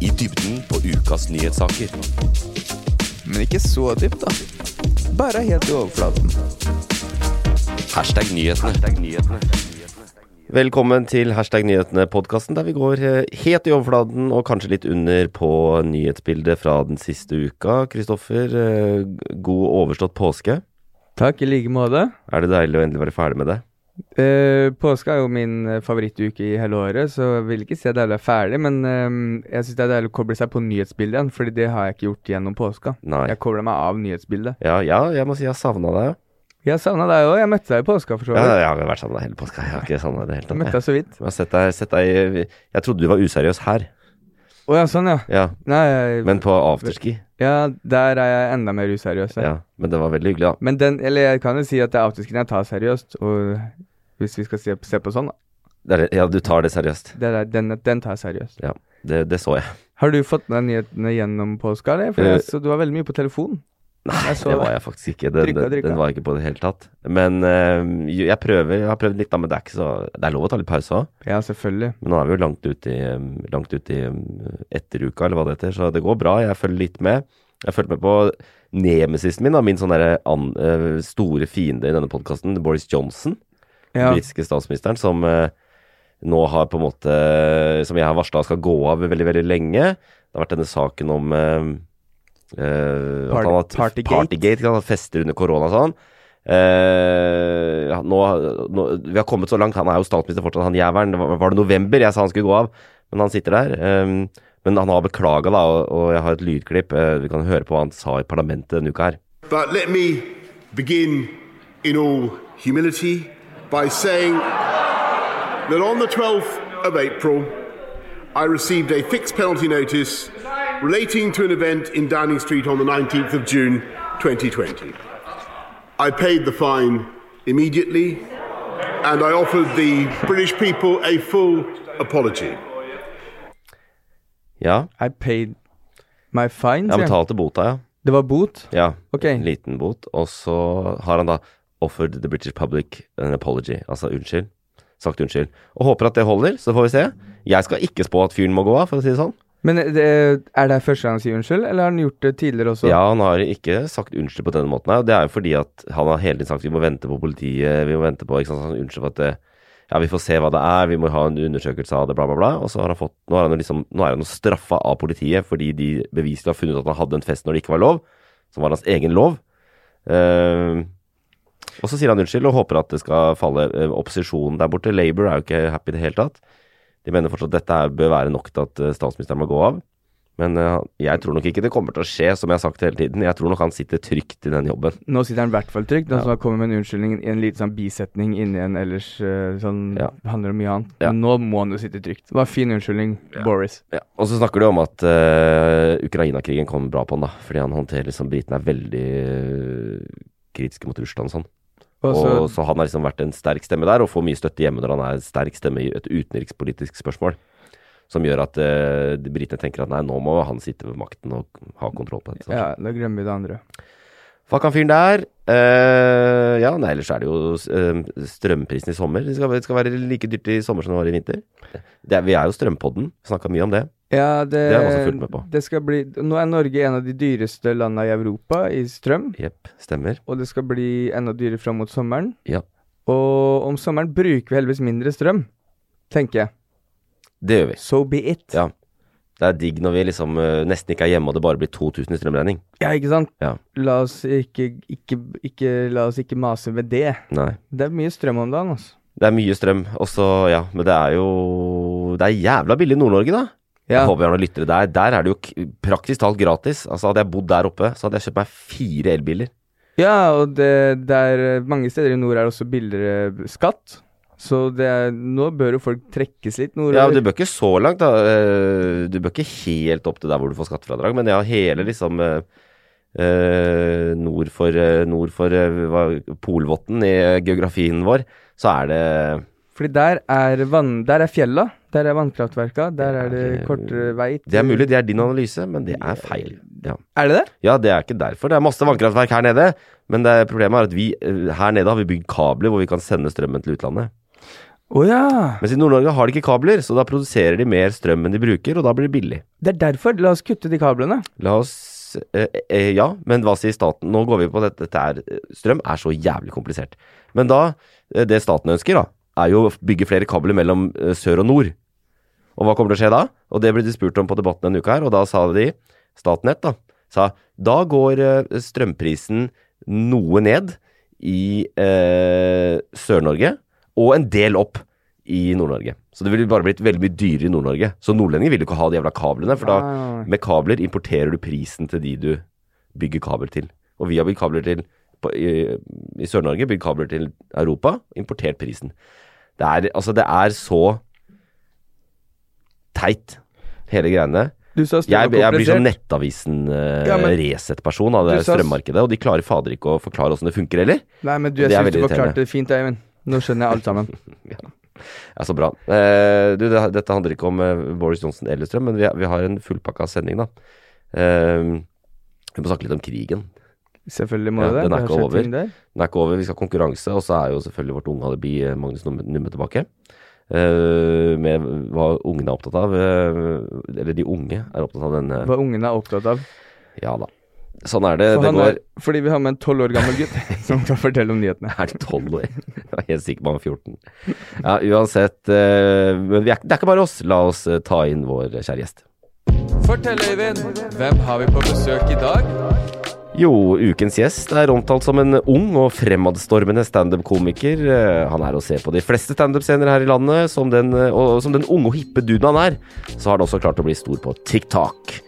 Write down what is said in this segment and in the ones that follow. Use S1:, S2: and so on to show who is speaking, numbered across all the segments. S1: I dybden på ukas nyhetssaker.
S2: Men ikke så dypt, da. Bare helt i overflaten.
S1: Hashtag nyhetene.
S3: Velkommen til Hashtag nyhetene-podkasten, der vi går eh, helt i overflaten og kanskje litt under på nyhetsbildet fra den siste uka. Kristoffer, eh, god overstått påske.
S2: Takk i like måte.
S3: Er det deilig å endelig være ferdig med det?
S2: Eh, påske er jo min eh, favorittuke i hele året, så jeg vil ikke si at det er ferdig, men eh, jeg syns det er deilig å koble seg på nyhetsbildet igjen, fordi det har jeg ikke gjort gjennom påska.
S3: Nei.
S2: Jeg kobla meg av nyhetsbildet.
S3: Ja, ja jeg må si jeg har savna deg.
S2: Jeg savna deg òg, jeg møtte deg i påska for så
S3: Ja, ja,
S2: vidt.
S3: jeg har vært sammen med deg hele påska. Jeg har ikke savna deg i det
S2: Jeg
S3: hele
S2: møtte
S3: tatt.
S2: deg så vidt.
S3: Jeg, har sett deg, sett deg Jeg trodde du var useriøs her,
S2: Å ja, sånn ja.
S3: ja.
S2: Nei, jeg-
S3: men på afterski.
S2: ja, der er jeg enda mer useriøs. jeg.
S3: Ja, men det var veldig hyggelig, da.
S2: Men den, eller jeg kan jo si at det er afterskin jeg tar seriøst, og hvis vi skal se, se på sånn, da.
S3: Det er- Ja, du tar det seriøst.
S2: Det er, den, den tar jeg seriøst.
S3: Ja, det, det så jeg.
S2: Har du fått med deg nyhetene gjennom påska, eller? For
S3: Eh.
S2: jeg, så du var veldig mye på telefon.
S3: Nei,
S2: Jeg så
S3: det
S2: det.
S3: var jeg faktisk ikke. Den,
S2: Trykka, trykka.
S3: den var jeg ikke på i det hele tatt. Men eh, jo, jeg prøver, jeg har prøvd litt da, men det er ikke så Det er lov å ta litt pause òg.
S2: Ja, selvfølgelig.
S3: Men nå er vi jo langt ut i, um, langt ut i um, etteruka, eller hva det heter, så det går bra. Jeg følger litt med. Jeg fulgte med på nemesisen min, da, min sånn derre an- eh, store fiende i denne podkasten, Boris Johnson,
S2: Ja,
S3: den britiske statsministeren, som eh, nå har på en måte Som jeg har varsla skal gå av veldig, veldig lenge. Det har vært denne saken om eh, eh, at han har hatt-
S2: Party- Partygate.
S3: Partygate, ikke sant? fester under korona og sånn. Eh, ja, nå, nå, vi har kommet så langt, han er jo statsminister fortsatt, han jævelen. Var, var det november jeg sa han skulle gå av? Men han sitter der. eh, men han har beklaga, da, og, og jeg har et lydklipp. eh, vi kan høre på hva han sa i parlamentet denne uka her.
S4: But let me begin in all humility by saying that on the 12th of April, I received a fixed penalty notice relating to an event in Downing Street on the 19th of June 2020. I paid the fine immediately and I offered the British people a full apology.
S3: Ja,
S2: I paid my fine,
S3: jeg
S2: sier jeg.
S3: betalte bota, ja.
S2: Det var bot.
S3: ja.
S2: Ok.
S3: En liten bot. Og så har han da offered the British public an apology, altså unnskyld. Sagt unnskyld. Og håper at det holder, så får vi se. Jeg skal ikke spå at fyren må gå av, for å si det sånn.
S2: Men eh, det, er det første gang han sier unnskyld, eller har han gjort det tidligere også?
S3: Ja, han har ikke sagt unnskyld på denne måten her. og Det er jo fordi at han har hele tiden sagt vi må vente på politiet, vi må vente på ikke sant, sånn unnskyld for at det, ja, vi får se hva det er, vi må ha en undersøkelse av det, bla, bla, bla. Og så har han fått, nå er han jo liksom, nå er han jo straffa av politiet fordi de beviselig har funnet ut at han hadde en fest når det ikke var lov, som var hans egen lov. Eh, og så sier han unnskyld og håper at det skal falle eh, opposisjonen der borte. Labour er jo ikke happy i det hele tatt. De mener fortsatt at dette er, bør være nok til at eh, statsministeren må gå av. Men eh, jeg tror nok ikke det kommer til å skje, som jeg har sagt hele tiden. Jeg tror nok han sitter trygt i den jobben.
S2: Nå sitter han i hvert fall trygt. Nå
S3: Ja.
S2: som han kommer med en unnskyldning i en liten sånn bisetning inni en ellers eh, sånn
S3: Ja.
S2: handler om mye annet.
S3: Ja.
S2: Men nå må han jo sitte trygt. Det var en fin unnskyldning, Boris.
S3: Ja. Og så snakker du om at eh, Ukraina-krigen kom bra på han, da. Fordi han håndterer liksom Britene er veldig eh, kritiske mot Russland og sånn. Og,
S2: Og så,
S3: så han har liksom vært en sterk stemme der, og får mye støtte hjemme når han er en sterk stemme i et utenrikspolitisk spørsmål. Som gjør at eh, de britene tenker at nei, nå må han sitte ved makten og ha kontroll på dette. sånn.
S2: ja, da glemmer vi det andre.
S3: Fuck han fyren der. Eh, ja, nei, ellers er det jo eh, strømprisen i sommer. Det skal, det skal være like dyrt i sommer som det var i vinter. Det, er- vi er jo strømpodden. Snakka mye om det.
S2: Ja, det,
S3: Det har jeg også fulgt med på.
S2: Det skal bli, nå er Norge en av de dyreste landa i Europa i strøm,
S3: Jepp, stemmer.
S2: og det skal bli enda dyrere fram mot sommeren.
S3: Ja.
S2: Og om sommeren bruker vi heldigvis mindre strøm, tenker jeg.
S3: Det gjør vi.
S2: So be it.
S3: Ja. Det er digg når vi liksom eh, nesten ikke er hjemme og det bare blir 2000 i strømregning.
S2: Ja, ikke sant?
S3: Ja.
S2: La oss ikke, ikke, ikke La oss ikke mase ved det.
S3: Nei.
S2: Det er mye strøm om dagen, altså.
S3: Det er mye strøm, og så, ja, men det er jo Det er jævla billig i Nord-Norge, da.
S2: Ja.
S3: Jeg håper vi har noen lyttere der. Der er det jo k praktisk talt gratis. Altså Hadde jeg bodd der oppe, så hadde jeg kjøpt meg fire elbiler.
S2: Ja, og det, det er mange steder i nord er det også billigere skatt. Så det er, nå bør jo folk trekkes
S3: Ja,
S2: litt
S3: men Du
S2: nordover.
S3: bør ikke så langt, da. Eh, Du bør ikke helt opp til der hvor du får skattefradrag, men ja, hele liksom eh, eh, nord for, eh, nord for eh, hva- Polvotten i eh, geografien vår, så er det
S2: Fordi der er, vann, der er fjella, der er vannkraftverka, der er det
S3: Det er-
S2: kortere vei til
S3: Det er mulig det er din analyse, men det er feil. Ja.
S2: Er det det?
S3: Ja, det er ikke derfor. Det er masse vannkraftverk her nede. Men det problemet er at vi eh, her nede har vi bygd kabler hvor vi kan sende strømmen til utlandet.
S2: Å ja!
S3: Mens i Nord-Norge har de ikke kabler, så da produserer de mer strøm enn de bruker, og da blir det billig.
S2: Det er derfor. La oss kutte de kablene.
S3: La oss eh, eh, Ja, men hva sier staten? Nå går vi på dette. dette er, eh, strøm er så jævlig komplisert. Men da eh, Det staten ønsker, da, er jo å bygge flere kabler mellom eh, sør og nord. Og hva kommer til å skje da? Og det ble de spurt om på Debatten denne uka her, og da sa de Statnett, da, sa da går eh, strømprisen noe ned i eh, Sør-Norge, og en del opp i Nord-Norge. Så det ville bare blitt veldig mye dyrere i Nord-Norge. Så nordlendinger vil jo ikke ha de jævla kablene, for da
S2: Nei.
S3: med kabler importerer du prisen til de du bygger kabel til. Og vi har bygd kabler til på, i, i Sør-Norge, bygd kabler til Europa, importert prisen. Det er, altså, det er så teit, hele greiene.
S2: Du sa strøm
S3: Jeg,
S2: er
S3: jeg blir sånn
S2: komplisert.
S3: Nettavisen-reset-person
S2: Ja, men-
S3: av det
S2: Du sa-
S3: strømmarkedet, og de klarer fader ikke å forklare åssen det funker heller.
S2: Nei, men du,
S3: Det
S2: jeg
S3: er
S2: syns du
S3: veldig irriterende.
S2: forklarte det fint, Øyvind. Nå skjønner jeg alt sammen.
S3: Ja, så bra. Eh, du, det, dette handler ikke om eh, Boris Johnson eller strøm, men vi, vi har en fullpakka sending, da. Eh, vi må snakke litt om krigen.
S2: Selvfølgelig må
S3: Ja,
S2: du det.
S3: den er
S2: Det har
S3: ikke
S2: skjedd
S3: over.
S2: ting der.
S3: Den er ikke over, vi skal ha konkurranse, og så er jo selvfølgelig vårt unge alibi eh, Magnus Numme Numme tilbake. Eh, med hva ungene er opptatt av, eh, eller de unge er opptatt av denne
S2: Hva ungen er opptatt av.
S3: Ja da. Sånn er det.
S2: For
S3: Eh, det
S2: han
S3: går
S2: er, fordi vi har med en tolv år gammel gutt som kan fortelle om nyhetene.
S3: Er det 12 år? Jeg var helt sikker på han var 14. Ja, uansett. eh, men vi er, det er ikke bare oss. La oss eh, ta inn vår kjære gjest.
S2: Fortell, Øyvind. Hvem har vi på besøk i dag?
S3: Jo, ukens gjest er omtalt som en ung og fremadstormende standup-komiker. Eh, Han er å se på de fleste standup-scener her i landet. Som den, eh, og som den unge og hippe duden han er, så har han også klart å bli stor på TikTok.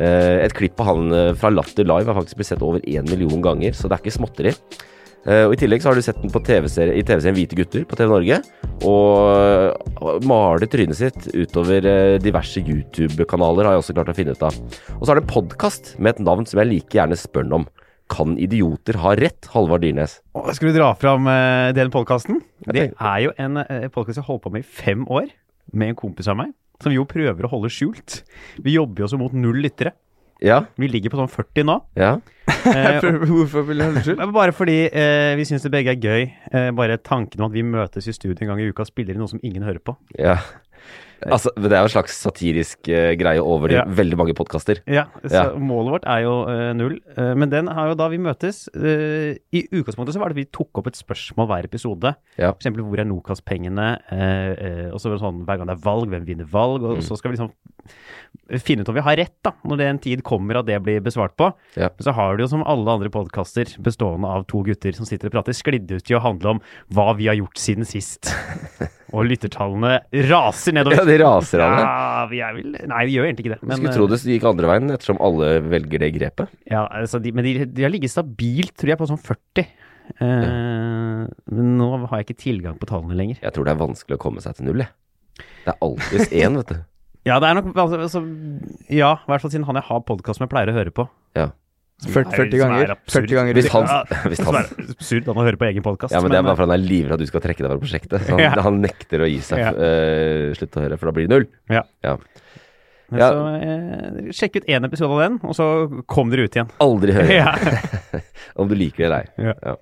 S3: Eh, Et klipp av han eh, fra Latter Live har faktisk blitt sett over én million ganger, så det er ikke småtteri. Eh, Og I tillegg så har du sett den på TV-serie, i TV-serien Hvite gutter på TV Norge, og eh, maler trynet sitt utover eh, diverse YouTube-kanaler, har jeg også klart å finne ut av. Og så er det en podkast med et navn som jeg like gjerne spør den om. Kan idioter ha rett, Halvard Dyrnes?
S5: Å, Skal du dra fram eh, den podkasten?
S3: Jeg
S5: Det
S3: tenker-
S5: er jo en uh, podkast jeg har holdt på med i fem år, med en kompis av meg. Som vi jo prøver å holde skjult. Vi jobber jo også mot null lyttere.
S3: Ja,
S5: Vi ligger på sånn 40 nå.
S3: ja.
S5: Eh, og-
S2: Hvorfor vil du holde skjult?
S5: men bare fordi eh, vi syns det begge er gøy. Eh, bare tanken om at vi møtes i studio en gang i uka og spiller i noe som ingen hører på.
S3: ja. Altså, men det er jo en slags satirisk eh, greie over de
S5: Ja.
S3: veldig mange podkaster.
S5: Ja, så
S3: Ja.
S5: Målet vårt er jo eh, null. Eh, men den har jo da vi møtes eh, I utgangspunktet så var det at vi tok opp et spørsmål hver episode.
S3: Ja.
S5: For eksempel hvor er Nokas-pengene? Eh, eh, og så var det sånn hver gang det er valg, hvem vinner valg?
S3: Mm.
S5: Og så skal vi liksom finne ut om vi har rett, da. Når det en tid kommer at det blir besvart på.
S3: Ja.
S5: Men så har det jo som alle andre podkaster bestående av to gutter som sitter og prater, sklidd ut til å handle om hva vi har gjort siden sist. og lyttertallene raser nedover.
S3: Ja, de raser av det.
S5: Ja, vi er vel Nei, vi gjør egentlig ikke det. men,
S3: Skulle
S5: eh,
S3: tro det gikk andre veien, ettersom alle velger det grepet.
S5: ja, altså de, men de, de har ligget stabilt, tror jeg, på sånn 40. Eh, Men nå har jeg ikke tilgang på tallene lenger.
S3: Jeg tror det er vanskelig å komme seg til null, jeg. Det er alltids én, vet du.
S5: Ja, det er nok altså, altså, Ja, i hvert fall siden han jeg har podkast med, pleier å høre på.
S3: Ja.
S5: Som
S2: 40,
S5: er- som er
S2: ganger.
S5: absurd.
S2: 40 ganger i
S3: Hvis han,
S2: uka.
S3: hvis
S5: Som
S3: han
S5: er absurd han å høre på egen podkast.
S3: Ja, men det er bare fordi han er livredd at du skal trekke deg fra prosjektet. Så han,
S5: eh, Ja.
S3: han nekter å gi seg.
S5: Ja.
S3: eh, slutt å høre, for da blir det null.
S5: Ja.
S3: Ja.
S5: men
S3: ja.
S5: så eh, sjekk ut én episode av den, og så kom dere ut igjen.
S3: Aldri høre
S5: Ja.
S3: om du liker det eller ei.
S5: Ja.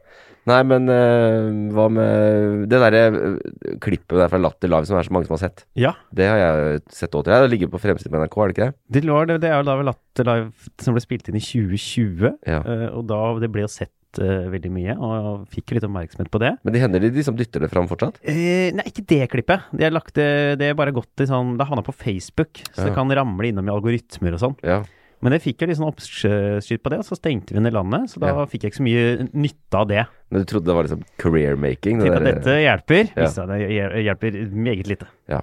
S3: Nei, men eh, hva med det derre eh, klippet der fra Latter Live som er så mange som har sett?
S5: ja.
S3: Det har jeg sett òg til deg. Det ligger på fremsiden på NRK, er det ikke det?
S5: Det, lå, det, det er jo da vel Latter Live som ble spilt inn i 2020,
S3: Ja.
S5: eh, og da det ble jo sett rundt eh, veldig mye, og fikk jo litt oppmerksomhet på det.
S3: Men det hender de liksom dytter det fram fortsatt?
S5: Eh, nei, ikke det klippet. Det er, lagt, eh, det, det er bare gått i sånn Det havna på Facebook, så det
S3: Ja.
S5: kan ramle innom i algoritmer og sånn.
S3: Ja.
S5: Men jeg fikk jo litt sånn oppskyt på det, og så stengte vi ned landet. Så da
S3: Ja.
S5: fikk jeg ikke så mye nytte av det.
S3: Men du trodde det var liksom career making? det
S5: Tenkte at
S3: der-
S5: dette hjelper.
S3: Ja.
S5: Viste seg at det hjel- hjelper meget lite.
S3: Ja.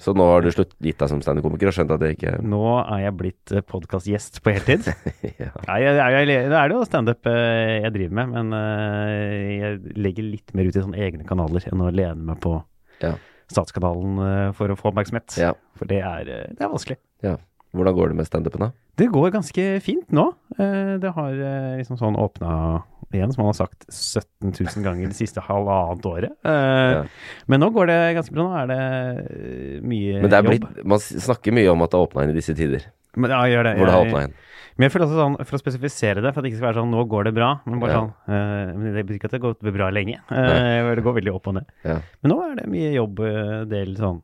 S3: Så nå har du slutt gitt deg som standup-komiker og skjønt at det ikke
S5: Nå er jeg blitt eh, podkastgjest på heltid.
S3: ja.
S5: Nei, jeg, jeg, jeg, det er jo standup eh, jeg driver med, men eh, jeg legger litt mer ut i sånne egne kanaler enn å lene meg på
S3: Ja.
S5: statskanalen eh, for å få oppmerksomhet.
S3: Ja.
S5: For det er, eh, det er vanskelig.
S3: ja. Hvordan går det med standupen, da?
S5: Det går ganske fint nå. Eh, Det har eh, liksom sånn åpna igjen, som han har sagt 17 000 ganger det siste halvannet året. Eh,
S3: Ja.
S5: Men nå går det ganske bra. Nå er det eh, mye
S3: Men det er
S5: jobb.
S3: blitt, man s- snakker mye om at det har åpna inn i disse tider.
S5: Men, ja, gjør det.
S3: Hvor det har
S5: Eh, Jeg-
S3: åpna inn.
S5: Men jeg føler også sånn, for å spesifisere det, for at det ikke skal være sånn 'nå går det bra', men bare
S3: Ja.
S5: sånn eh, men Det betyr ikke at det har gått bra lenge. Eh,
S3: Nei.
S5: det går veldig opp og ned.
S3: Ja.
S5: Men nå er det mye jobb, eh, del sånn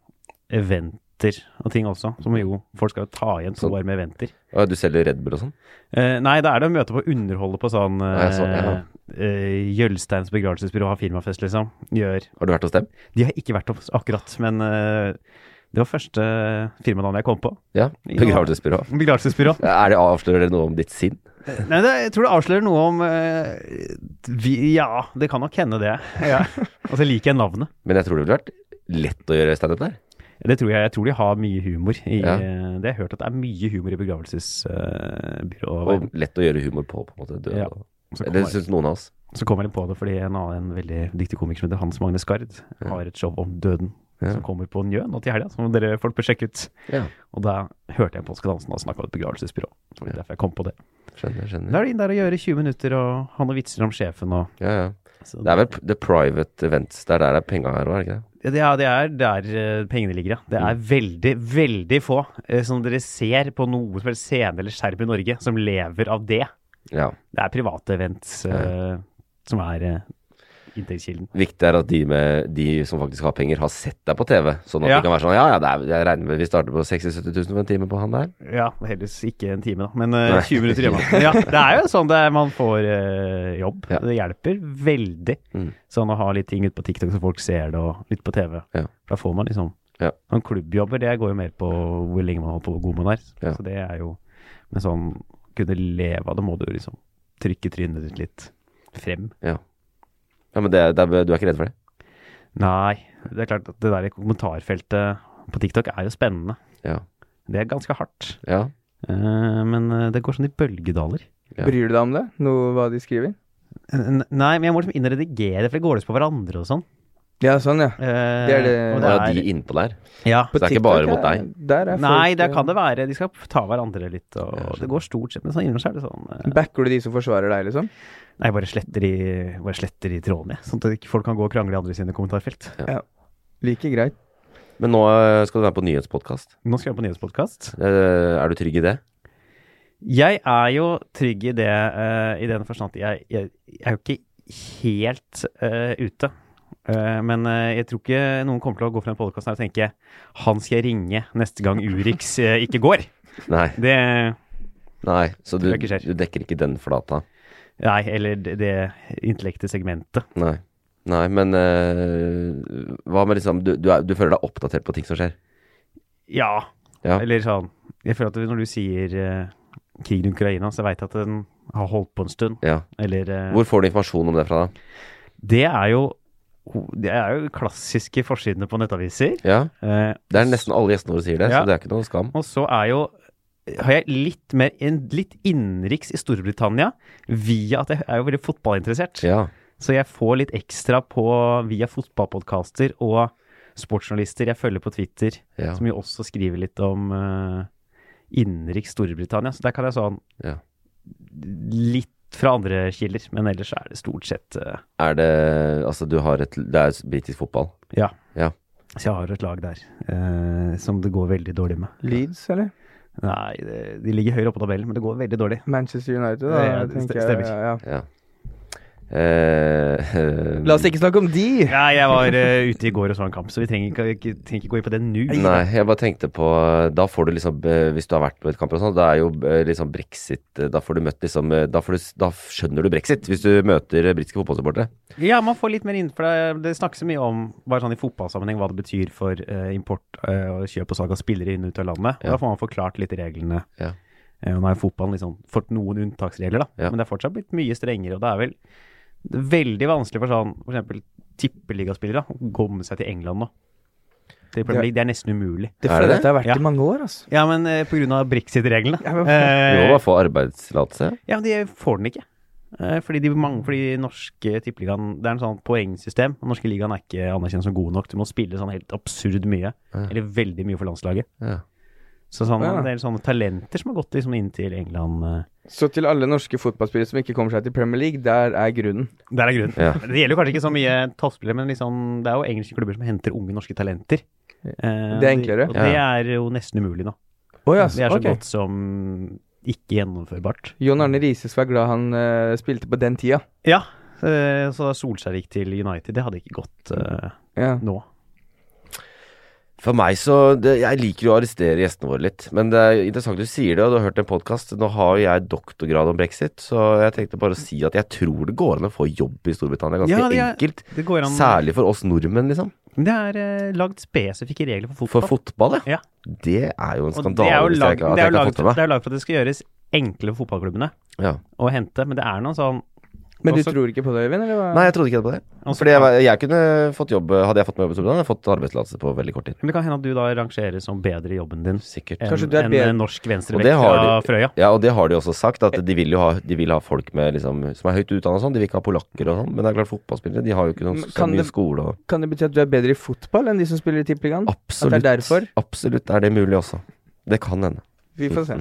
S5: eventer og ting også, som jo folk skal jo ta igjen to
S3: Så-
S5: år med eventer.
S3: Å, du selger Red Bull og sånn?
S5: Eh, nei, da er det å møte på underholde på sånn
S3: Ja, jeg så-
S5: eh, eh, Jølsteins begravelsesbyrå har firmafest, liksom. Gjør.
S3: Har du vært hos dem?
S5: De har ikke vært opp akkurat, men eh, det var første firmanavnet jeg kom på.
S3: Ja.
S5: Ja.
S3: Begravelsesbyrå.
S5: Begravelsesbyrå.
S3: Er det avslører det noe om ditt sinn?
S5: Nei, det, jeg tror det avslører noe om eh, vi, Ja, det kan nok hende det. Ja. Og så liker jeg navnet.
S3: Men jeg tror det ville vært lett å gjøre standup der.
S5: Det tror jeg, jeg tror de har mye humor i
S3: Ja.
S5: eh, det. Jeg har hørt at det er mye humor i begravelsesbyrået.
S3: Og lett å gjøre humor på, på en måte. Død.
S5: Ja.
S3: og-
S5: så,
S3: Det
S5: kommer jeg-
S3: syns noen av oss.
S5: så kommer jeg litt på det fordi en annen en veldig dyktig komiker som heter Hans Magne Skard, har et show om døden
S3: Ja.
S5: som kommer på Njø nå til helga, som dere folk bør sjekke ut.
S3: Ja.
S5: Og da hørte jeg på Oskar Hansen og snakka om et begravelsesbyrå. Så Det var derfor jeg kom på det.
S3: Skjønner,
S5: Da
S3: skjønner.
S5: er det inn der og gjøre 20 minutter og ha noen vitser om sjefen og
S3: Ja, ja.
S5: så
S3: Det er vel p- the private events. Det er der det er penga her òg, er det ikke det?
S5: Det er, det er der eh, pengene ligger, ja. Det er
S3: Mm.
S5: veldig, veldig få eh, som dere ser på noe som helst scene eller skjerm i Norge, som lever av det.
S3: Ja.
S5: Det er private events eh, som er eh, inntektskilden.
S3: Viktig er at de, med, de som faktisk har penger, har sett deg på TV. Sånn at
S5: Ja.
S3: de kan være sånn Ja, ja, det er, jeg regner med vi starter på 60 000-70 000 for en time på han der.
S5: Ja, heldigvis ikke en time, da, men eh,
S3: Nei.
S5: 20 minutter hjemme. Men Ja, det er jo sånn det er, man får eh, jobb.
S3: Ja.
S5: Det hjelper veldig.
S3: Mm.
S5: Sånn å ha litt ting ute på TikTok så folk ser det, og litt på TV.
S3: Ja.
S5: Da får man liksom
S3: Ja.
S5: Sånn klubbjobber, det går jo mer på hvor lenge man holder på, hvor god man er.
S3: Ja.
S5: Så det er jo Men sånn kunne leve av det, må du jo liksom trykke trynet ditt litt frem.
S3: Ja. ja men det, det, er- du er ikke redd for det?
S5: Nei, det er klart at det der i kommentarfeltet på TikTok er jo spennende.
S3: Ja.
S5: Det er ganske hardt.
S3: ja.
S5: Eh, men eh, det går sånn i bølgedaler.
S3: Ja.
S2: Bryr du deg om det? Noe hva de skriver?
S5: N nei, men jeg må liksom inn og redigere, for det går løs på hverandre og sånn.
S2: Ja, sånn, ja.
S5: Eh,
S2: Det er det-
S5: og
S3: Det er de innpå der.
S5: Ja.
S3: Så det er ikke bare mot deg.
S2: Der er
S5: Nei,
S2: folk,
S5: der
S2: eh,
S5: kan det være. De skal ta hverandre litt, og det går stort sett. Men sånn innimellom så er det sånn eh,
S2: Backer du de som forsvarer deg, liksom?
S5: Nei, jeg bare sletter i, bare sletter i trådene, jeg. Sånn at ikke folk kan gå og krangle i andre sine kommentarfelt.
S2: Like greit.
S3: Men nå eh, skal du være på nyhetspodkast.
S5: Nå skal jeg på nyhetspodkast.
S3: Eh, Er du trygg i det?
S5: Jeg er jo trygg i det, eh, i den forstand at jeg, jeg, jeg er jo ikke helt eh, ute. Eh, men eh, jeg tror ikke noen kommer til å gå fra den podkasten her og tenke han skal jeg ringe neste gang Urix eh, ikke går.
S3: Nei.
S5: Det
S3: Nei. Så du,
S5: Tror jeg ikke skjer.
S3: du dekker ikke den flata?
S5: Nei, eller det, det intellekte segmentet.
S3: Nei. Nei, men eh, hva med liksom du, du, er, du føler deg oppdatert på ting som skjer?
S5: Ja.
S3: Ja.
S5: Eller sånn Jeg føler at når du sier eh, krigen i Ukraina, så veit jeg at den har holdt på en stund.
S3: ja.
S5: Eller eh,
S3: Hvor får du informasjon om det fra, da?
S5: Det er jo det er jo klassiske forsidene på nettaviser.
S3: Ja.
S5: Eh,
S3: Det er nesten alle gjestene våre sier det,
S5: Ja.
S3: så det er ikke noe skam.
S5: Og så er jo har jeg litt mer en, litt innenriks i Storbritannia via at jeg er jo veldig fotballinteressert.
S3: Ja.
S5: Så jeg får litt ekstra på via fotballpodkaster og sportsjournalister jeg følger på Twitter,
S3: Ja.
S5: som jo også skriver litt om eh, innenriks Storbritannia. Så der kan jeg sånn
S3: Ja.
S5: litt fra andre kilder, men ellers er det stort sett eh,
S3: Er det Altså, du har et Det er britisk fotball.
S5: Ja.
S3: Ja.
S5: Så jeg har et lag der eh, som det går veldig dårlig med.
S2: Leeds, eller?
S5: Nei, det- de ligger høyere oppe på tabellen, men det går veldig dårlig.
S2: Manchester United,
S5: Ja, ja,
S2: da.
S5: det
S2: tenker
S5: stemmer.
S2: Jeg, ja, ja.
S3: ja. eh,
S2: La oss ikke snakke om de!
S5: Nei, jeg var eh, ute i går og så en kamp, så vi trenger ikke, ikke, trenger ikke gå inn på det nå.
S3: Nei, jeg bare tenkte på Da får du liksom eh, Hvis du har vært på et kamp og sånn, da er jo eh, liksom brexit eh, Da får du møtt liksom eh, da, får du, da skjønner du brexit hvis du møter eh, britiske fotballsupportere.
S5: Ja, man får litt mer inn, for det, det snakkes så mye om bare sånn i fotballsammenheng hva det betyr for eh, import eh, og kjøp og salg av spillere inn og ut av landet. Og
S3: Ja.
S5: Da får man forklart litt reglene.
S3: Ja.
S5: Eh, og nå har jo fotballen liksom fått noen unntaksregler, da.
S3: Ja.
S5: Men det er fortsatt blitt mye strengere, og det er vel det er veldig vanskelig for sånn f.eks. tippeligaspillere da, å komme seg til England nå. Til Premier League. Det er nesten umulig.
S2: Det
S3: Er det
S2: føler jeg at det har vært
S5: Ja.
S2: i mange år, altså.
S5: Ja, men eh, på grunn av brexit-reglene.
S2: Ja,
S3: Du
S2: men-
S3: må
S5: Eh,
S3: bare få arbeidstillatelse.
S5: ja, men de får den ikke. Eh, Fordi de mange, fordi norske tippeligaen Det er en sånn poengsystem. Den norske ligaen er ikke anerkjent som god nok. Du må spille sånn helt absurd mye. Eller veldig mye for landslaget.
S3: Ja.
S5: Så sånn,
S2: Ja.
S5: en del sånne talenter som har gått liksom inn til England eh,
S2: Så til alle norske fotballspillere som ikke kommer seg til Premier League, der er grunnen.
S5: Der er grunnen.
S3: Ja.
S5: Det gjelder jo kanskje ikke så mye toppspillere, men liksom, det er jo engelske klubber som henter unge norske talenter. Eh,
S2: Det er enklere.
S5: Og det er jo nesten umulig nå.
S2: Oh,
S5: Det er så godt som ikke gjennomførbart.
S2: Jon Arne Riise skal være glad han eh, spilte på den tida.
S5: Ja, eh, så Solskjær gikk til United. Det hadde ikke gått eh,
S2: Ja.
S5: nå.
S3: For meg så det, Jeg liker jo å arrestere gjestene våre litt. Men det er interessant du sier det, og du har hørt en podkast. Nå har jo jeg doktorgrad om brexit, så jeg tenkte bare å si at jeg tror det går an å få jobb i Storbritannia ganske
S5: Ja, det er-
S3: enkelt.
S5: Det går an
S3: Særlig for oss nordmenn, liksom.
S5: Det er eh, lagd spesifikke regler for
S3: For
S5: fotball.
S3: fotball,
S5: Ja.
S3: Det er jo en
S5: og det er
S3: skandale
S5: jo
S3: hvis jeg
S5: lagd
S3: ikke at
S5: det
S3: jeg ikke
S5: er jo
S3: har
S5: lagd-
S3: fått med
S5: det
S3: meg.
S5: er jo lagd for at det skal gjøres enkle for fotballklubbene
S3: Ja.
S5: å hente, men det er noen sånn
S2: Men du
S5: Også-
S2: tror ikke på det, Øyvind? Eller hva?
S3: Nei, jeg trodde ikke på det.
S5: også-
S3: Fordi jeg, var- jeg kunne fått jobb Hadde jeg fått meg jobb i Storbritannia, hadde jeg fått arbeidstillatelse på veldig kort tid.
S5: Men det kan hende at du da rangeres som bedre i jobben din
S3: Sikkert.
S5: enn
S2: Kanskje du er
S5: enn
S2: bedre-
S5: en norsk
S3: Og
S5: venstrevekt
S3: det
S5: fra
S3: har
S5: Frøya.
S3: Ja, og det har de også sagt, at de vil jo ha, de vil ha folk med, liksom, som er høyt utdanna og sånn. De vil ikke ha polakker og sånn. Men det er klart, fotballspillere de har jo ikke noen
S2: Men
S3: så
S2: kan
S3: mye
S2: det-
S3: skole og
S2: Kan det bety at du er bedre i fotball enn de som spiller i Tippeligaen?
S3: Absolutt.
S2: At det er derfor?
S3: Absolutt er det mulig også. Det kan hende.
S2: Vi får se.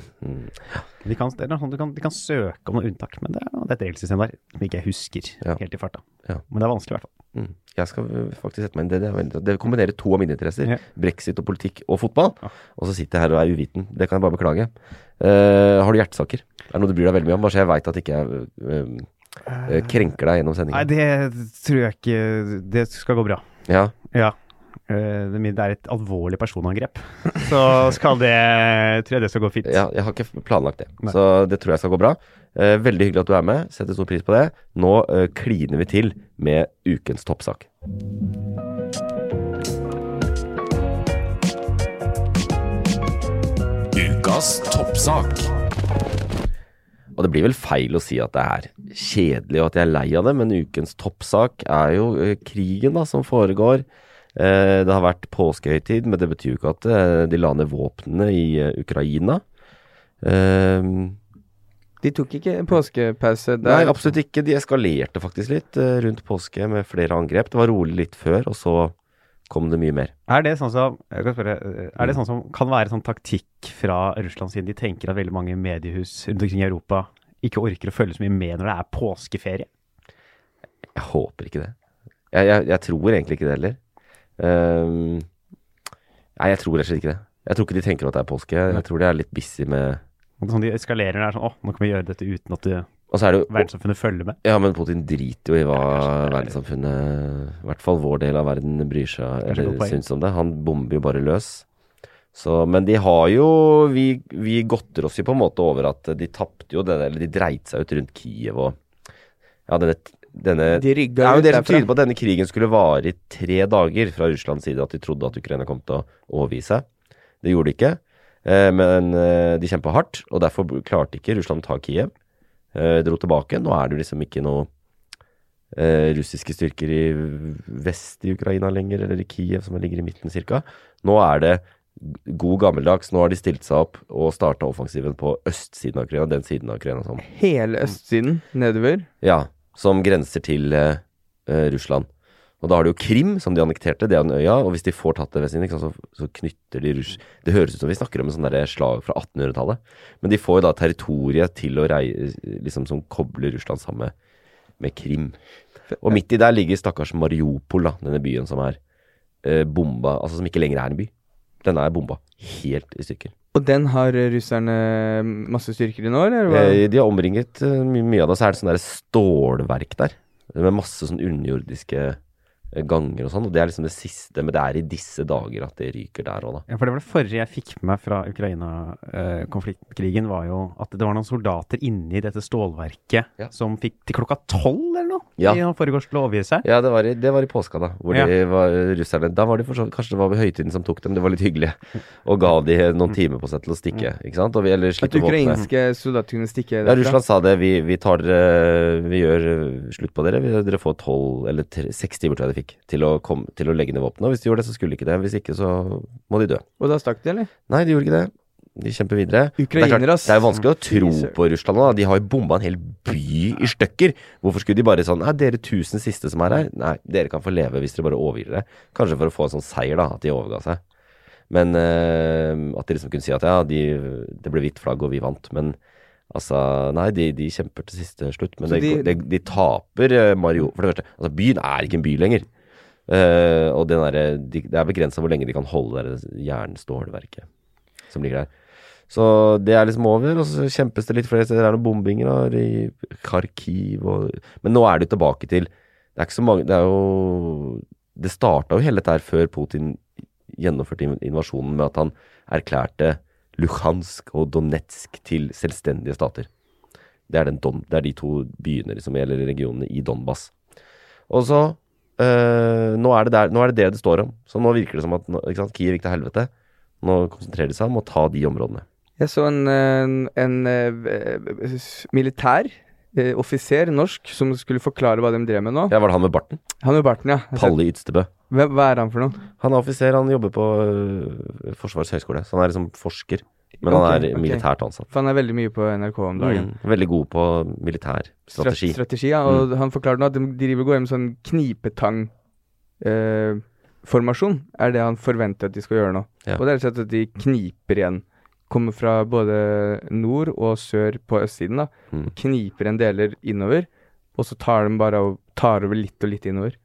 S5: De kan, det er noe sånt, de, kan, de kan søke om noen unntak, men det er, det er et regelsystem der som ikke jeg husker
S3: Ja.
S5: helt i farta.
S3: Ja.
S5: Men det er vanskelig i hvert fall.
S3: Mm. Jeg skal øh, faktisk sette meg inn i det. Det, er veldig, det kombinerer to av mine interesser.
S5: Ja.
S3: Brexit og politikk og fotball.
S5: Ja.
S3: Og så sitter jeg her og er uviten. Det kan jeg bare beklage. Eh, har du hjertesaker? Er det noe du bryr deg veldig mye om? Bare så jeg veit at ikke jeg øh, øh, krenker deg gjennom
S5: Eh. Nei,
S3: sendingen.
S5: det tror jeg ikke Det skal gå bra.
S3: Ja.
S5: Ja. Eh, Det min- det er et alvorlig personangrep. Så skal det Tror jeg det skal gå fint.
S3: Ja, jeg har ikke planlagt det.
S5: Nei.
S3: Så det tror jeg skal gå bra. Eh, veldig hyggelig at du er med. Setter stor pris på det. Nå eh, kliner vi til med ukens toppsak.
S1: Ukas toppsak.
S3: Og det blir vel feil å si at det er kjedelig og at jeg er lei av det, men ukens toppsak er jo eh, krigen da, som foregår. Eh, det har vært påskehøytid, men det betyr jo ikke at eh, de la ned våpnene i eh, Ukraina. Eh,
S2: De tok ikke påskepause der.
S3: Nei, absolutt ikke. De eskalerte faktisk litt eh, rundt påske med flere angrep. Det var rolig litt før, og så kom det mye mer.
S5: Er det sånn som jeg kan spørre, er det sånn som kan være sånn taktikk fra Russland, siden de tenker at veldig mange mediehus rundt omkring i Europa ikke orker å følge så mye med når det er påskeferie?
S3: Jeg håper ikke det. Jeg, jeg, jeg tror egentlig ikke det heller. Ehm, nei, jeg tror rett og slett ikke det. Jeg tror ikke de tenker at det er påske. Jeg tror de er litt busy med
S5: Og sånn De eskalerer det er sånn Å, nå kan vi gjøre dette uten at det-
S3: Og så er det jo
S5: verdenssamfunnet følger med.
S3: Ja, men Putin driter jo i hva
S5: Ja, kanskje det er-
S3: verdenssamfunnet I hvert fall vår del av verden bryr seg
S5: Kanskje godt
S3: eller
S5: poeng.
S3: syns om det. Han bomber jo bare løs. Så, men de har jo Vi, vi godter oss jo på en måte over at de tapte jo det der, eller de dreit seg ut rundt Kiev og Ja, denne, denne
S2: De rygga
S3: Det er jo
S2: ut
S3: det som
S2: derfra.
S3: tyder på at denne krigen skulle vare i tre dager fra Russlands side, at de trodde at Ukraina kom til å overgi seg. Det gjorde de ikke, eh, men eh, de kjempa hardt, og derfor b- klarte ikke Russland å ta Kiev. Eh, dro tilbake. Nå er det jo liksom ikke noe eh, russiske styrker i vest i Ukraina lenger, eller i Kiev, som ligger i midten cirka. Nå er det g- god gammeldags. Nå har de stilt seg opp og starta offensiven på østsiden av Ukraina, den siden av Ukraina som
S2: Hele østsiden nedover.
S3: ja, som grenser til eh, eh, Russland. Og da har de jo Krim, som de annekterte, det er en øya, og hvis de får tatt det ved sin, ikke sant, så, så knytter de russ... Det høres ut som vi snakker om en sånn derre slag fra 1800-tallet, men de får jo da territoriet til å rei... liksom som kobler Russland sammen med, med Krim. Og midt i der ligger stakkars Mariupol, da, denne byen som er eh, bomba, altså som ikke lenger er en by. Den er bomba helt i stykker.
S2: Og den har eh, russerne masse styrker i nå, eller? hva?
S3: Eh, De har omringet eh, my mye av det, så er det sånn der stålverk der. Med masse sånn underjordiske eh, ganger og sånn. Og det er liksom det siste, men det er i disse dager at det ryker der òg, da.
S5: Ja, for det var det forrige jeg fikk med meg fra Ukraina-konfliktkrigen, var jo at det var noen soldater inni dette stålverket
S3: Ja.
S5: som fikk til klokka tolv eller noe
S3: Ja.
S5: i han foregårs til å overgi seg.
S3: Ja, det var i, det var i påska, da. Hvor
S5: Ja.
S3: de var, eh, russerne Da var de for så vidt Kanskje det var ved høytiden som tok dem. Det var litt hyggelig. Og ga de noen timer på seg til å stikke. Ikke sant? Og vi, eller
S2: At
S3: slippe våpenet.
S2: ukrainske soldater kunne stikke
S3: Ja,
S2: derfra.
S3: Russland sa det. Vi, vi, tar, eh, vi gjør eh, slutt på dere. Vi, dere får tolv eller tre- seks timer, tror jeg de fikk, til å, komme, til å legge ned våpenet. Og hvis de gjorde det, så skulle de ikke det. Hvis ikke, så må de dø.
S2: Og da stakk de, eller?
S3: Nei, de gjorde ikke det. De kjemper videre.
S2: Ukrainere,
S3: det er, klart,
S2: ass.
S3: det er jo vanskelig å tro
S2: Jesus.
S3: på Russland nå. da. De har jo bomba en hel by i stykker. Hvorfor skulle de bare sånn Nei, dere tusen siste som er her. Nei, dere kan få leve hvis dere bare overgir dere. Kanskje for å få en sånn seier, da, at de overga seg. Men eh, at de liksom kunne si at ja, de, det ble hvitt flagg og vi vant. Men altså Nei, de, de kjemper til siste slutt. Men
S2: Så
S3: de, de,
S2: de-
S3: taper eh, Mario For det første, altså byen er ikke en by lenger. Eh, og den derre- de, det er begrensa hvor lenge de kan holde det der jernstålverket som ligger der. Så det er liksom over, og så kjempes det litt flere steder. Det er noen bombinger da, i Kharkiv og Men nå er det jo tilbake til Det er ikke så mange Det er jo Det starta jo hele dette her før Putin gjennomførte inv- invasjonen med at han erklærte Luhansk og Donetsk til selvstendige stater. Det er, den Don, det er de to byene, liksom, eller regionene i Donbas. Og så eh, nå, er det der, nå er det det det står om. Så nå virker det som at nå- ikke sant, Kiev gikk til helvete. Nå konsentrerer de seg om å ta de områdene.
S2: Jeg så en, eh, en, en eh, v- s- militær eh, offiser, norsk, som skulle forklare hva de drev med nå.
S3: Ja, Var det han med barten?
S2: Han med barten, ja. Jeg ser-
S3: Palle Ydstebø.
S2: Hva, hva er han for noe?
S3: Han er offiser, han jobber på øh, Forsvarets høgskole. Så han er liksom forsker, men
S2: Ok,
S3: han er
S2: ok.
S3: militært ansatt.
S2: For han er veldig mye på NRK om dagen.
S3: Mm. Veldig god på militær strategi. Mm.
S2: Strat- strategi ja. Og han forklarer nå at de driver og går med sånn knipetang-formasjon. er det han forventer at de skal gjøre nå.
S3: Ja.
S2: Og det er rett og slett at de kniper igjen. Kommer fra både nord og sør på østsiden. da.
S3: Mm.
S2: Kniper igjen deler innover, og så tar de bare og tar over litt og litt innover.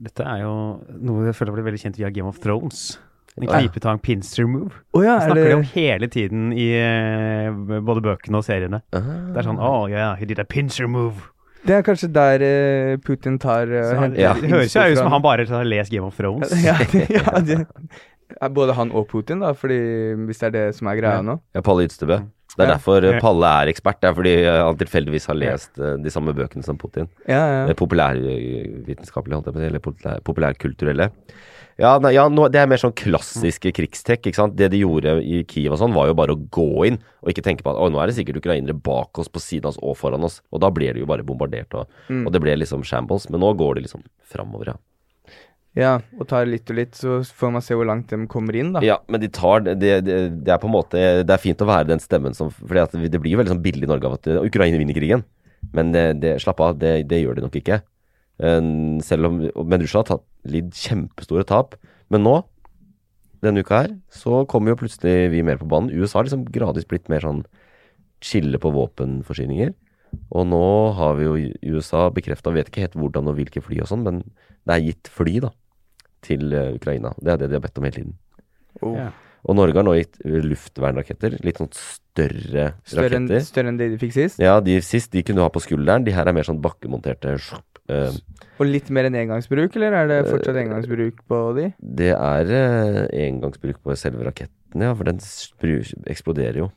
S5: Dette er jo noe jeg føler blir veldig kjent via Game of Thrones. En
S3: Ja.
S5: knipetang pinster move.
S2: Å ja, er
S5: Det snakker
S2: det
S5: de om hele tiden i eh, både bøkene og seriene.
S3: Ah.
S5: Det er sånn Oh yeah, he did a pincer move.
S2: Det er kanskje der eh, Putin tar eh,
S5: Så han,
S2: henter
S3: Ja.
S5: Det høres jo
S2: innspo
S5: ut
S2: fra-
S5: som han bare har lest Game of Thrones.
S2: ja, det, ja, det, er Både han og Putin, da, fordi hvis det er det som er greia
S5: Ja.
S2: nå.
S3: Ja, Palle Ydstebø. Det er
S2: Ja.
S3: derfor øh,
S5: Ja.
S3: Palle er ekspert. Det er fordi øh, han tilfeldigvis har lest øh, de samme bøkene som Putin.
S2: Ja, ja.
S3: Eh, populærvitenskapelige, holdt jeg på å si, eller populær- populærkulturelle. Ja, nei, ja nå, det er mer sånn
S2: Mm.
S3: klassiske krigstrekk, ikke sant. Det de gjorde i Kiev og sånn, var jo bare å gå inn, og ikke tenke på at å, nå er det sikkert ukrainere bak oss, på siden av oss og foran oss. Og da blir det jo bare bombardert, og,
S2: Mm.
S3: og det ble liksom shambles. Men nå går det liksom framover, ja.
S2: ja. Og tar litt og litt, så får man se hvor langt de kommer inn, da.
S3: Ja, men de tar det, det, det er på en måte Det er fint å være den stemmen som For det blir jo veldig sånn billig i Norge av at eh, Ukraina vinner krigen. Men det, det, slapp av, det, det gjør de nok ikke. Eh, Selv om Men Russland har tatt, lidd kjempestore tap. Men nå, denne uka her, så kommer jo plutselig vi mer på banen. USA har liksom gradvis blitt mer sånn skille på våpenforsyninger. Og nå har vi jo USA bekrefta, vet ikke helt hvordan og hvilke fly og sånn, men det er gitt fly, da, til eh, Ukraina. Det er det de har bedt om hele tiden.
S2: Oh.
S5: Ja.
S3: Og Norge har nå gitt luftvernraketter. Litt sånn større,
S2: Større, enn,
S3: raketter.
S2: større enn det de fikk sist.
S3: Ja, de sist de kunne ha på skulderen. De her er mer sånn bakkemonterte. sjopp, eh,
S2: Og litt mer enn engangsbruk, eller er det fortsatt engangsbruk på de?
S3: Det er eh, engangsbruk på selve raketten, ja. For den spru, eksploderer jo.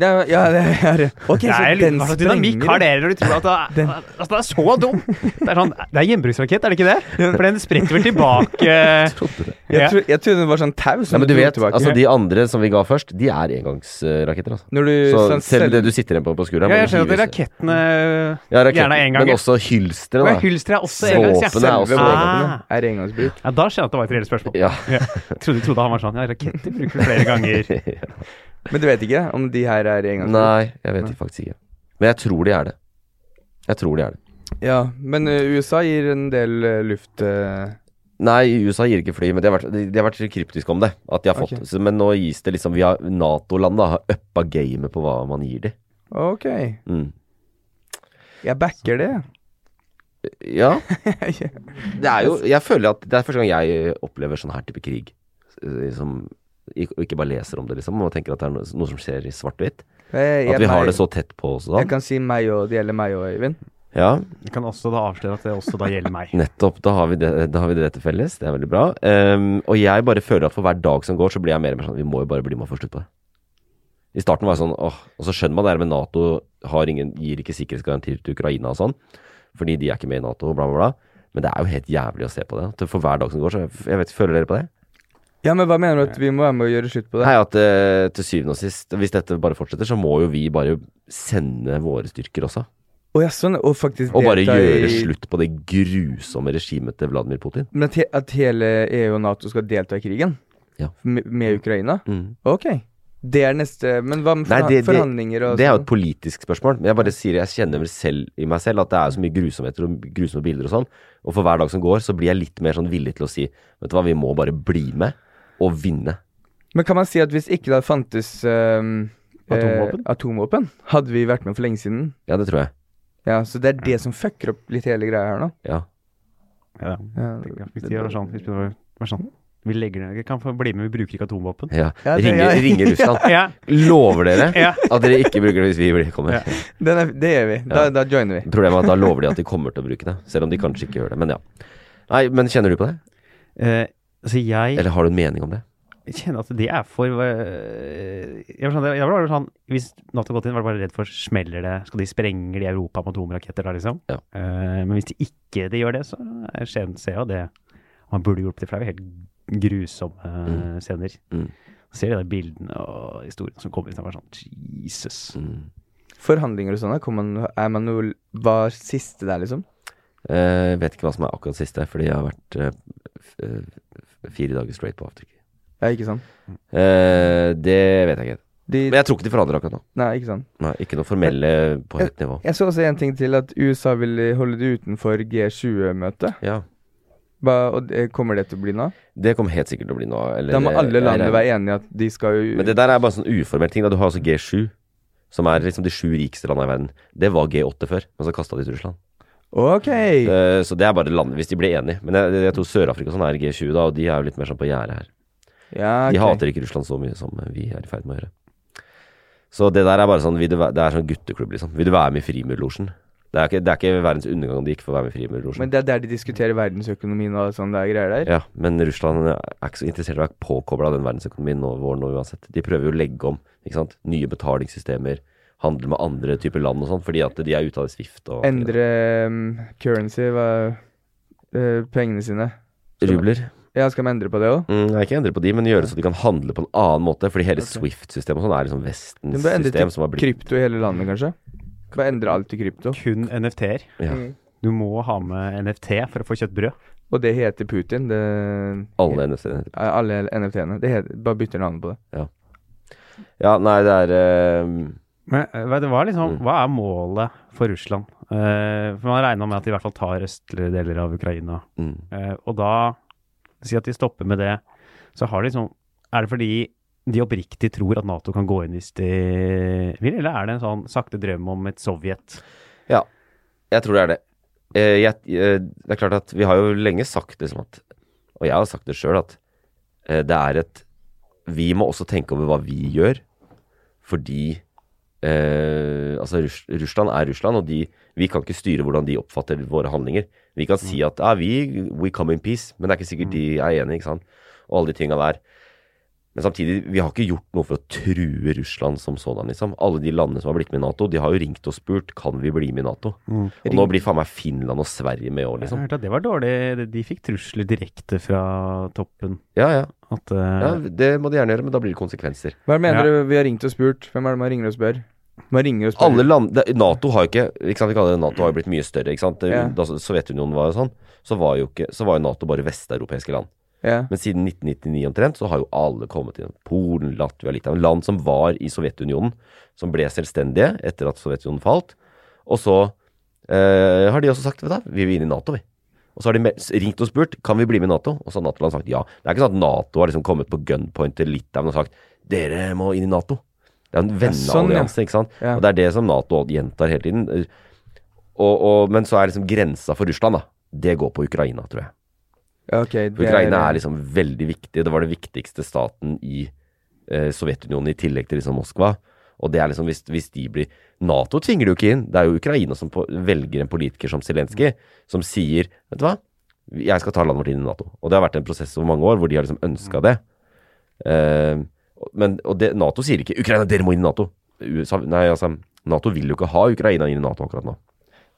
S2: Ja, ja, det er Ok,
S5: Nei,
S2: så
S5: jeg lurer
S2: den
S5: på hva slags dynamikk
S2: sprenger.
S5: har dere når de tror at det, er- altså, det er så dum? Det er, sånn, det er gjenbruksrakett, er det ikke det? For den spretter vel tilbake
S2: Jeg,
S5: Ja.
S2: tro, jeg trodde den var sånn tau. som
S3: Nei, men du
S2: dro
S3: vet,
S2: tilbake.
S3: altså de andre som vi ga først, de er engangsraketter, altså.
S2: Når du
S3: Så
S2: sånn,
S3: selv
S2: selv-
S3: det du sitter igjen på på skulderen
S5: Ja, jeg
S3: må
S5: skjønner at
S3: hives-
S5: rakettene
S3: ja, raketten,
S5: gjerne er enganger.
S3: Men også hylsteret,
S5: Og
S3: da.
S5: hylstre er også
S3: Såpene
S5: engangs, ja.
S3: er også
S5: Selve
S3: våpnene.
S5: Ah.
S2: er engangsbruk.
S5: Ja, da skjønner jeg at det var et reelt spørsmål.
S3: Ja.
S5: Jeg trodde, trodde han var sånn Ja, raketter bruker vi flere ganger.
S2: Men du vet ikke om de her er engangsbruk?
S3: Nei, jeg vet faktisk ikke. Men jeg tror de er det. Jeg tror de er det.
S2: Ja, men ø, USA gir en del ø, luft eh, ø,
S3: Nei, USA gir ikke fly, men de har vært, de, de har vært kryptiske om det. At de har fått
S2: Ok.
S3: så, Men nå gis det liksom via Nato-landet har uppa gamet på hva man gir de.
S2: Ok,
S3: Mm.
S2: jeg backer det.
S3: Ja. Det er jo Jeg føler at det er første gang jeg opplever sånn her type krig. Eh, Som ikke ikke bare leser om det, liksom, og tenker at det er noe, noe som skjer i svart-hvitt.
S2: Jeg,
S3: At vi har det sånn? så tett på oss da.
S2: Jeg kan si meg og det gjelder meg og Øyvind.
S3: Ja,
S5: Jeg kan også da avsløre at det også da gjelder meg.
S3: nettopp. Da har vi det, da har vi det til felles. Det er veldig bra. Ehm, og jeg bare føler at for hver dag som går, så blir jeg mer og mer sånn Vi må jo bare bli med og få slutt på det. I starten var jeg sånn åh, Og så skjønner man det her med Nato har ingen, gir ikke sikkerhetsgarantier til Ukraina og sånn. Fordi de er ikke med i Nato, bla, bla, bla. Men det er jo helt jævlig å se på det. Til- For hver dag som går, så jeg, jeg vet, føler dere på det?
S2: Ja, men hva mener du at vi må være med og gjøre slutt på det?
S3: Nei, at eh, til syvende og sist, hvis dette bare fortsetter, så må jo vi bare sende våre styrker også.
S2: Å ja, sånn. Og faktisk
S3: Og bare
S2: delta
S3: gjøre
S2: i-
S3: slutt på det grusomme regimet til Vladimir Putin.
S2: Men at, he at hele EU og Nato skal delta i krigen?
S3: Ja.
S2: Med, med Ukraina?
S3: Mm.
S2: Ok. Det er neste Men hva med
S3: Nei,
S2: forha-
S3: det- det-
S2: forhandlinger og
S3: Det er jo
S2: sånn?
S3: et politisk spørsmål, men jeg bare sier jeg kjenner vel selv i meg selv at det er så mye grusomheter og grusomme bilder og sånn, og for hver dag som går, så blir jeg litt mer sånn villig til å si vet du hva, vi må bare bli med og vinne.
S2: Men kan man si at hvis ikke det hadde fantes ehm, eh,
S5: Atomvåpen?
S2: atomvåpen, hadde vi vært med for lenge siden?
S3: Ja, det tror jeg.
S2: Ja, så det er det som fucker opp litt hele greia her nå.
S3: Ja.
S5: Ja,
S2: Ja,
S5: tenker jeg. Hvis de gjør sånn, hvis de gjør sånn Vi legger ned Vi kan få bli med, vi bruker ikke atomvåpen.
S3: ja.
S2: Ja, det-
S3: Ringer,
S2: ja.
S3: ringer Russland.
S5: Ja,
S3: Lover dere
S5: Ja.
S3: at dere ikke bruker det hvis vi blir- kommer?
S5: Ja.
S2: Den er, det gjør vi. Da,
S3: Ja.
S2: da joiner vi.
S3: Problemet er at da lover de at de kommer til å bruke det, selv om de kanskje ikke gjør det. Men ja. Nei, men kjenner du på det?
S5: Eh, så jeg
S3: Eller har du en mening om det?
S5: kjenner at det er for eh, jeg var sånn, jeg var bare sånn Hvis Nato gått inn, var jeg bare redd for smeller det Skal de sprenge de Europa med atomraketter da, liksom?
S3: Ja.
S5: Eh, men hvis de ikke de gjør det, så er- skjer- ser jeg jo det man burde hjulpet til, for det er jo helt grusomme eh, scener.
S3: Mm.
S5: Ser de der bildene og historiene som kommer ut, og bare sånn Jesus.
S3: Mm.
S2: Forhandlinger og sånn, da? Kommer man- er man noe Var siste der, liksom?
S3: Eh, vet ikke hva som er akkurat siste, fordi jeg har vært eh, f- eh, f- fire dager straight på avtrykk.
S2: Ja, ikke sant?
S3: Eh, det vet jeg ikke.
S2: De,
S3: Men jeg tror ikke de forandrer akkurat nå.
S2: nei, ikke sant.
S3: Nei, ikke noe formelle på høyt nivå.
S2: Jeg så også en ting til, at USA vil holde det utenfor G20-møtet.
S3: Ja.
S2: Og det- kommer det til å bli nå?
S3: Det kommer helt sikkert til å bli nå. Eller,
S2: Da må alle landene
S3: eller-
S2: være enige at de skal jo
S3: Men det der er bare sånn uformell ting. Da. Du har altså G7, som er liksom de sju rikeste landene i verden. Det var G8 før, men så kasta de til Russland.
S2: Ok!
S3: Eh, så det er bare land hvis de blir enige. Men jeg, jeg tror Sør-Afrika og sånn er G20 da, og de er jo litt mer sånn på gjerdet her.
S2: Ja,
S3: De
S2: ok.
S3: hater ikke Russland så mye som vi er i ferd med å gjøre. Så det der er bare sånn vil du væ- Det er sånn gutteklubb, liksom. Vil du være med i Frimurlosjen? Det, er ikke- det er ikke verdens undergang om de ikke får være med i Frimurlosjen.
S2: Men det er der de diskuterer verdensøkonomien og alt sånt der greier der?
S3: Ja, men Russland er ikke så interessert i å være påkobla den verdensøkonomien nå, vår nå uansett. De prøver jo å legge om, ikke sant. Nye betalingssystemer, handle med andre typer land og sånn, fordi at de er ute av det Swift og
S2: Endre um, currency, hva eh, Pengene sine.
S3: Rubler.
S2: Ja, skal man endre på det òg?
S3: Mm, nei, ikke endre på de, men gjøre så de kan handle på en annen måte. Fordi hele Swift-systemet og sånn er liksom
S2: Du
S3: Vestens
S2: bør endre
S3: system
S2: til
S3: som har blitt
S2: krypto i hele landet, kanskje? Bare endre alt til krypto.
S5: Kun NFT-er.
S3: ja,
S5: Du må ha med NFT for å få kjøttbrød.
S2: Og det heter Putin. Det,
S3: Alle NFC-er.
S2: eh, alle NFT-ene. Det heter, bare bytter navnet på det.
S3: Ja, nei, det er eh,
S5: Men eh, hva- det var
S3: Mm.
S5: liksom, hva er målet for Russland? Eh, for Man regna med at de i hvert fall tar østlige deler av Ukraina.
S3: mm.
S5: Eh, og da, si at de stopper med det, så har de liksom Er det fordi de oppriktig tror at Nato kan gå inn hvis de vil, eller er det en sånn sakte drøm om et Sovjet?
S3: Ja, jeg tror det er det. Eh, jeg, eh, det er klart at vi har jo lenge sagt liksom at Og jeg har sagt det sjøl, at eh, det er et Vi må også tenke over hva vi gjør, fordi eh, Altså, Russ, Russland er Russland, og de, vi kan ikke styre hvordan de oppfatter våre handlinger. Vi kan si at ja, vi we come in peace, men det er ikke sikkert de er enige, ikke sant. Og alle de tinga der. Men samtidig, vi har ikke gjort noe for å true Russland som sådan, liksom. Alle de landene som har blitt med i Nato, de har jo ringt og spurt kan vi bli med i Nato. Og nå blir faen meg Finland og Sverige med òg,
S5: Jeg
S3: liksom.
S5: hørte at det var dårlig. De- De fikk trusler direkte fra toppen.
S3: Ja, ja,
S5: At eh,
S3: ja. Det må de gjerne gjøre, men da blir det konsekvenser.
S2: Hva mener
S5: Ja.
S2: du vi har ringt og spurt? Hvem er det man ringer og spør? Man ringer og spør.
S3: Alle land det, Nato har jo ikke ikke sant, vi kaller det Nato har jo blitt mye større, ikke sant. Det-
S2: Ja.
S3: Da Sovjetunionen var jo sånn, så var jo, ikke, så var jo Nato bare vesteuropeiske land.
S2: Ja.
S3: Men siden 1999 omtrent, så har jo alle kommet inn. Polen, Latvia, Litauen. Land som var i Sovjetunionen, som ble selvstendige etter at Sovjetunionen falt. Og så eh, har de også sagt, vet du, hva, vi vil inn i Nato, vi. Og så har de me- ringt og spurt kan vi bli med i Nato, og så har Nato-land sagt ja. Det er ikke sånn at Nato har liksom kommet på gunpoint til Litauen og sagt dere må inn i Nato. Det er en
S2: sånn, ja.
S3: venneallianse, ikke sant.
S2: Ja.
S3: Og det er det som Nato gjentar hele tiden. Og, og, men så er liksom grensa for Russland, da. Det går på Ukraina, tror jeg.
S2: Ok, det
S3: For Ukraina er liksom veldig viktig. Det var den viktigste staten i eh, Sovjetunionen i tillegg til liksom Moskva. Og det er liksom hvis, hvis de blir Nato tvinger det jo ikke inn. Det er jo Ukraina som på, velger en politiker som Zelenskyj, som sier Vet du hva, jeg skal ta landet vårt inn i Nato. Og det har vært en prosess over mange år hvor de har liksom ønska det. Eh, men, og det, Nato sier ikke 'Ukraina, dere må inn i Nato'. USA, nei, altså, Nato vil jo ikke ha Ukraina inn i Nato akkurat nå.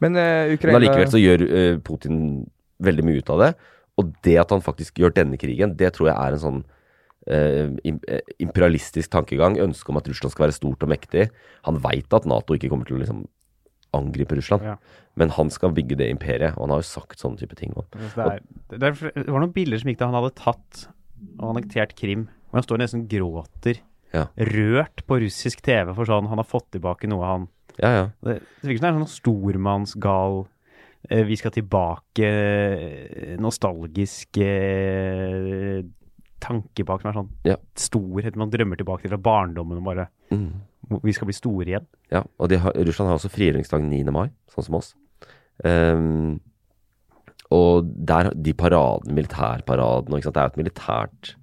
S2: Men eh,
S3: Men
S2: Ukraina
S3: allikevel så gjør eh, Putin veldig mye ut av det. Og det at han faktisk gjør denne krigen, det tror jeg er en sånn eh, im- eh, imperialistisk tankegang. Ønsket om at Russland skal være stort og mektig. Han veit at Nato ikke kommer til å liksom angripe Russland,
S5: Ja.
S3: men han skal bygge det imperiet. Og han har jo sagt sånne type ting òg.
S5: Altså, Det, er, det, er, det var noen bilder som gikk da han hadde tatt og annektert Krim. Og han står nesten og gråter.
S3: Ja.
S5: Rørt på russisk TV for sånn han har fått tilbake noe han
S3: Ja, ja.
S5: Det, det virker som det er en sånn stormannsgal eh, Vi skal tilbake eh, nostalgisk eh, tanke bak som er sånn
S3: Ja.
S5: storhet man drømmer tilbake til fra barndommen og bare
S3: Mm.
S5: Vi skal bli store igjen.
S3: Ja, og de har, Russland har også frigjøringsdag 9. mai, sånn som oss. Ehm, og der, de paradene, militærparadene og ikke sant? Det er jo et militært,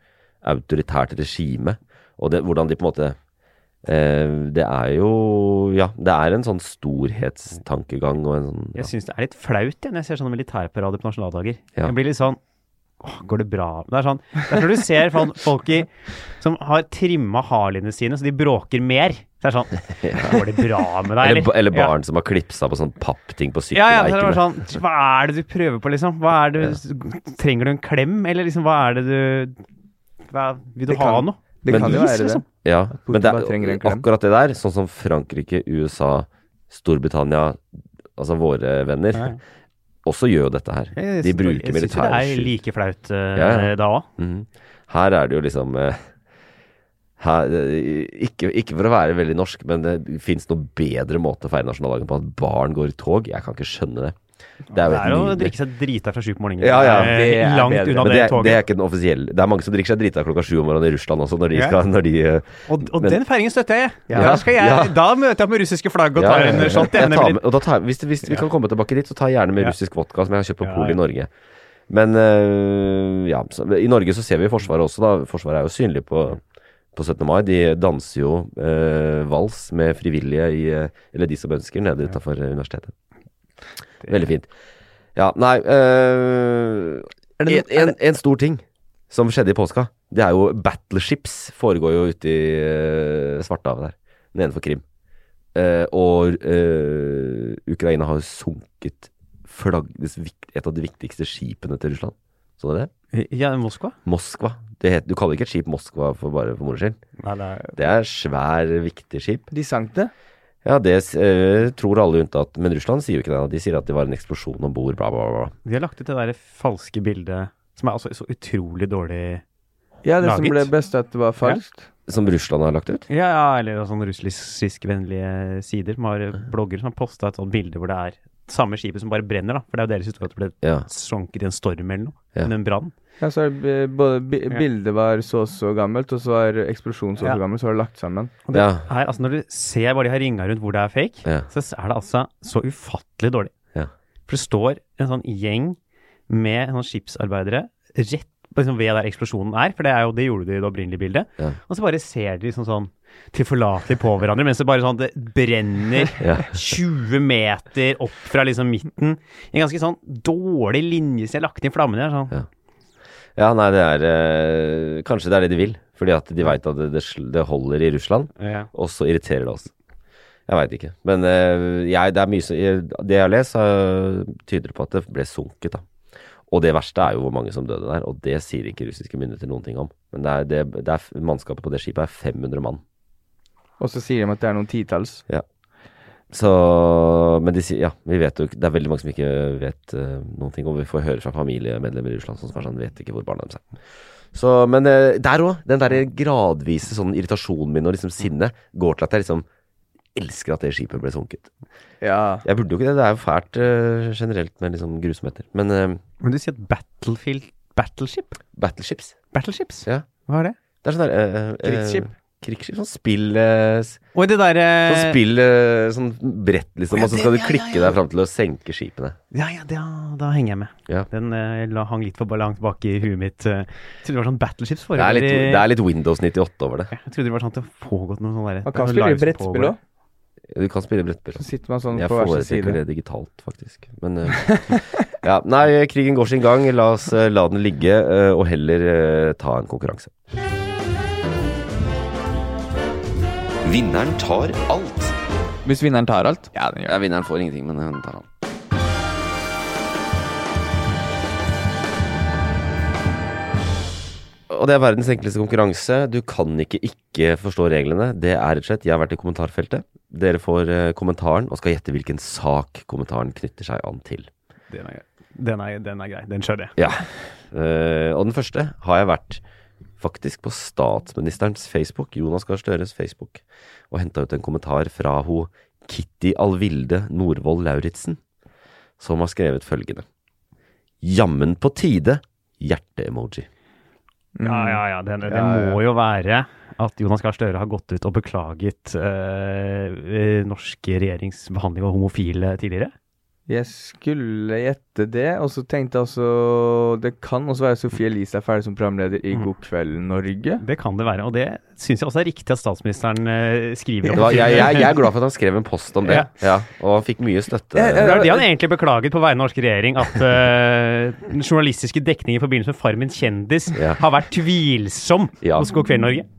S3: autoritært regime. Og det, hvordan de på en måte eh, Det er jo Ja, det er en sånn storhetstankegang og en sånn ja.
S5: Jeg syns det er litt flaut jeg, når jeg ser sånne militærparader på nasjonaldager.
S3: Ja.
S5: Jeg blir litt sånn Åh, går det bra? Det er sånn, det er sånn du ser sånn folk i, som har trimma harlinene sine, så de bråker mer. Så det er sånn Går det bra med deg,
S3: Eller, ba- eller
S5: Ja.
S3: barn som har klipsa på sånn pappting på
S5: Ja, ja, så det
S3: sykkel.
S5: var sånn, hva er det du prøver på, liksom? Hva er det, Trenger du en klem, eller liksom, hva er det du hva, Vil du
S2: Det
S5: ha
S2: kan-
S5: noe?
S2: Det
S3: Men
S2: kan jo
S5: is,
S2: være det.
S5: liksom.
S3: Ja,
S2: Putin
S3: men det,
S2: bare trenger en
S3: er-
S2: klem.
S3: akkurat det der, sånn som Frankrike, USA, Storbritannia, altså våre venner,
S5: Ja, ja.
S3: også gjør jo dette her. De bruker
S5: Jeg syns jo det
S3: militære
S5: er
S3: skyt.
S5: like flaut eh,
S3: Ja, ja.
S5: da òg.
S3: Mhm. Her er det jo liksom eh, her, eh, ikke, ikke for å være veldig norsk, men det fins noen bedre måte å feire nasjonaldagen på. At barn går i tog. Jeg kan ikke skjønne det. Det
S5: Det er jo å
S3: nydelig.
S5: drikke seg drita fra sju på morgenen.
S3: Ja, ja,
S5: Eh,
S3: det er
S5: Langt
S3: bedre.
S5: unna
S3: Men
S5: det,
S3: det, er-
S5: toget.
S3: det er ikke den offisielle Det er mange som drikker seg drita klokka sju om morgenen i Russland også, når de
S5: Ja.
S3: skal når de, eh,
S5: Og, og
S3: Men-
S5: den feiringen støtter jeg.
S3: Ja.
S5: Da, skal jeg
S3: Ja.
S5: da møter jeg opp med russiske flagg og
S3: Ja,
S5: tar
S3: ja, ja.
S5: en shot.
S3: Jeg
S5: igjen,
S3: tar
S5: nemlig.
S3: med, og da tar, jeg- hvis det, hvis vi kan komme tilbake dit, så tar jeg gjerne med
S5: Ja.
S3: russisk vodka som jeg har kjøpt på
S5: Ja,
S3: Pol
S5: ja.
S3: i Norge. Men øh, ja, så, i Norge så ser vi Forsvaret også, da. Forsvaret er jo synlig på, på 17. mai. De danser jo øh, vals med frivillige i øh, Eller de som ønsker, nede utafor universitetet. Veldig fint. Ja, nei øh, en, en, en stor ting som skjedde i påska, det er jo battleships foregår jo ute i øh, Svartehavet der. Nede for Krim. Eh, og eh, Ukraina har jo sunket flagg, det vik- et av de viktigste skipene til Russland. Så dere det?
S5: Ja, Moskva?
S3: Moskva. Det het- du kaller ikke et skip Moskva for bare for moro skyld.
S5: Nei, det er
S3: Det er svær, viktig skip.
S2: De sank det.
S3: Ja, det eh, tror alle unntatt, men Russland sier jo ikke det. De sier at det var en eksplosjon om bord, bla, bla, bla. bla.
S5: De har lagt ut det der falske bildet, som er altså så utrolig dårlig
S2: Ja, det som
S5: Laget.
S2: ble bestøtt, var falskt.
S3: Som Russland har lagt ut.
S5: Ja, ja eller sånn russiskvennlige sider som har blogger som har posta et sånt bilde hvor det er samme skipet som bare brenner, da. For det er jo deres historie at det ble
S3: Ja.
S5: sunket i en storm eller noe.
S3: Ja.
S5: En brann.
S2: Ja, så er b- både bi-
S5: Ja.
S2: bildet var så og så gammelt, og så var eksplosjonen så og
S5: Ja.
S2: så gammel, så var det lagt sammen.
S3: ja.
S5: Her, altså Når du ser bare de her ringa rundt hvor det er fake,
S3: Ja.
S5: så er det altså så ufattelig dårlig.
S3: Ja.
S5: For det står en sånn gjeng med sånn skipsarbeidere rett liksom ved der eksplosjonen er, for det er jo det gjorde de i det opprinnelige bildet.
S3: Ja.
S5: Og så bare ser de liksom sånn tilforlatelig på hverandre, mens det bare sånn det brenner
S3: Ja.
S5: 20 meter opp fra liksom midten. En ganske sånn dårlig linje som jeg har lagt inn flammene her. Sånn.
S3: ja, nei, det er eh, Kanskje det er det de vil. Fordi at de veit at det, det, sl- det holder i Russland.
S5: Ja.
S3: og så irriterer det oss. Jeg veit ikke. Men eh, jeg, det er mye som jeg- Det jeg har lest, eh, tyder på at det ble sunket, da. Og det verste er jo hvor mange som døde der, og det sier ikke russiske myndigheter noen ting om. Men det er, det, det er, f- mannskapet på det skipet er 500 mann.
S2: Og så sier de at det er noen titalls.
S3: Så Men de sier Ja, vi vet jo ikke- Det er veldig mange som ikke vet eh, noen ting, og vi får høre fra familiemedlemmer i Russland som er sånn Vet ikke hvor barna deres er. Så, men eh, der òg, den der gradvise sånn irritasjonen min og liksom sinnet går til at jeg liksom elsker at det skipet ble sunket.
S2: Ja.
S3: Jeg burde jo ikke det. Det er jo fælt eh, generelt med liksom grusomheter. Men eh,
S5: Men du sier et battlefield Battleship?
S3: battleships
S5: Battleships?
S3: Ja.
S5: Hva er det?
S3: Det er sånn der eh, eh,
S2: Krigsskip.
S3: krigsskip. Sånn spill eh, s-
S5: Og det derre
S3: Sånn spill eh, Sånn brett, liksom, og så skal du
S5: ja, ja,
S3: klikke deg fram til å senke skipene.
S5: Ja, ja, da, da henger jeg med.
S3: Ja.
S5: Den eh, la, hang litt for bare langt bak i huet mitt. eh. Jeg trodde det var sånn Battleships
S3: Det
S5: forrige
S3: er litt,
S5: i-
S3: det er litt Windows 98 over det.
S5: Jeg trodde det var sånn at det har pågått noe sånn derre
S2: Man kan spille brettspill òg.
S3: Du kan spille brettspill.
S2: Så sitter man sånn
S3: Jeg
S2: på hver sin
S3: foretrekker
S2: side.
S3: det digitalt, faktisk. Men eh, ja, Nei, krigen går sin gang. La oss eh, la den ligge, eh, og heller eh, ta en konkurranse.
S1: Vinneren tar alt.
S2: Hvis vinneren tar alt
S6: Ja, den gjør det. Vinneren får ingenting, men hun tar han.
S3: Og det er verdens enkleste konkurranse. Du kan ikke ikke forstå reglene. Det er rett og slett Jeg har vært i kommentarfeltet. Dere får eh, kommentaren og skal gjette hvilken sak kommentaren knytter seg an til.
S5: Den er, den, er, den er grei. Den skjønner jeg.
S3: Ja. Eh, og den første har jeg vært faktisk på statsministerens Facebook, Jonas Gahr Støres Facebook, og henta ut en kommentar fra ho Kitty Alvilde Norvoll Lauritzen, som har skrevet følgende. Jammen på tide hjerte-emoji.
S2: Mm.
S5: Ja, ja, ja. Den, det må jo være at Jonas Gahr Støre har gått ut og beklaget eh, eh, norske regjerings behandling av homofile tidligere.
S2: Jeg skulle gjette det, og så tenkte jeg også Det kan også være Sofie Elise er ferdig som programleder i God kveld, Norge.
S5: Det kan det være. Og det syns jeg også er riktig at statsministeren eh, skriver
S3: Det
S5: om.
S3: var, jeg, jeg, jeg er glad for at han skrev en post om det,
S5: Ja.
S3: ja. og han fikk mye støtte.
S2: Ja, ja,
S5: Det
S2: ja.
S5: er det
S3: eh,
S5: han egentlig beklaget på vegne av norsk regjering, at eh, den journalistiske dekningen i forbindelse med Farmen kjendis
S3: Ja.
S5: har vært tvilsom
S3: Ja.
S5: hos God kveld Norge.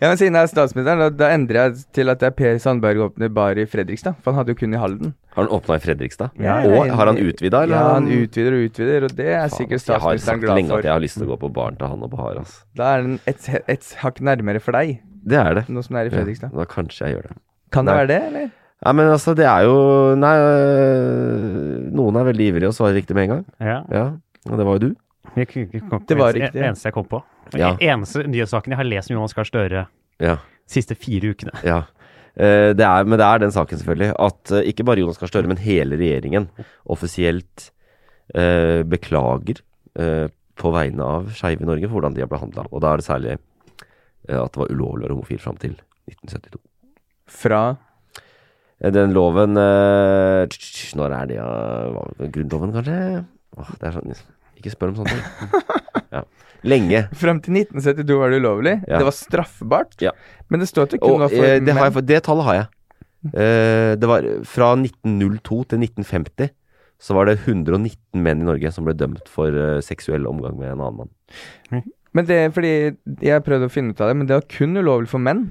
S2: Ja, men Siden jeg er statsministeren, da, da endrer jeg til at det er Per Sandberg åpner bar i Fredrikstad. For han hadde jo kun i Halden.
S3: Har han åpna i Fredrikstad?
S2: Ja,
S3: og
S2: ja, ja.
S3: har han utvida, eller?
S2: Ja,
S3: har
S2: Han utvider og utvider, og det er
S3: Faen,
S2: sikkert
S3: Jeg har
S2: statsministeren
S3: sagt
S2: glad
S3: lenge at jeg
S2: for.
S3: har lyst til å gå på baren til han og Bahar. Altså.
S2: Da er den et, et hakk nærmere for deg,
S3: Det er det.
S2: nå som det er i
S3: Ja,
S2: Fredrikstad.
S3: da kanskje jeg gjør det.
S2: Kan det
S3: Nei.
S2: være det, eller?
S3: Nei, men altså, det er jo Nei, øh, noen er veldig ivrige og svarer riktig med en gang.
S5: Ja.
S3: Ja, og det var jo du.
S5: Jeg kunne ikke komme på
S2: Det var
S5: eneste-
S2: riktig.
S5: eneste jeg kom på.
S3: Ja.
S5: Eneste nyhetssaken jeg har lest om Jonas Gahr Støre
S3: Ja.
S5: siste fire ukene.
S3: ja. Eh, det er, men det er den saken, selvfølgelig, at eh, ikke bare Jonas Gahr Støre, men hele regjeringen offisielt eh, beklager eh, på vegne av skeive i Norge for hvordan de har behandla. Og da er det særlig eh, at det var ulovlig å være homofil fram til 1972.
S2: Fra
S3: Eh, Den loven eh, tsk, tsk, tsk, Når er det, ja? Hva- Grunnloven, kanskje? Åh, det er sånn Ikke spør om sånne ting. Ja. Lenge.
S2: Fram til 1972 var det ulovlig.
S3: Ja.
S2: Det var straffbart.
S3: Ja.
S2: Men det står at det kun
S3: Og,
S2: var for
S3: eh, det, har jeg,
S2: menn.
S3: fått- det tallet har jeg. Eh, det var Fra 1902 til 1950 så var det 119 menn i Norge som ble dømt for eh, seksuell omgang med en annen mann.
S2: Men det er fordi Jeg prøvde å finne ut av det, men det var kun ulovlig for menn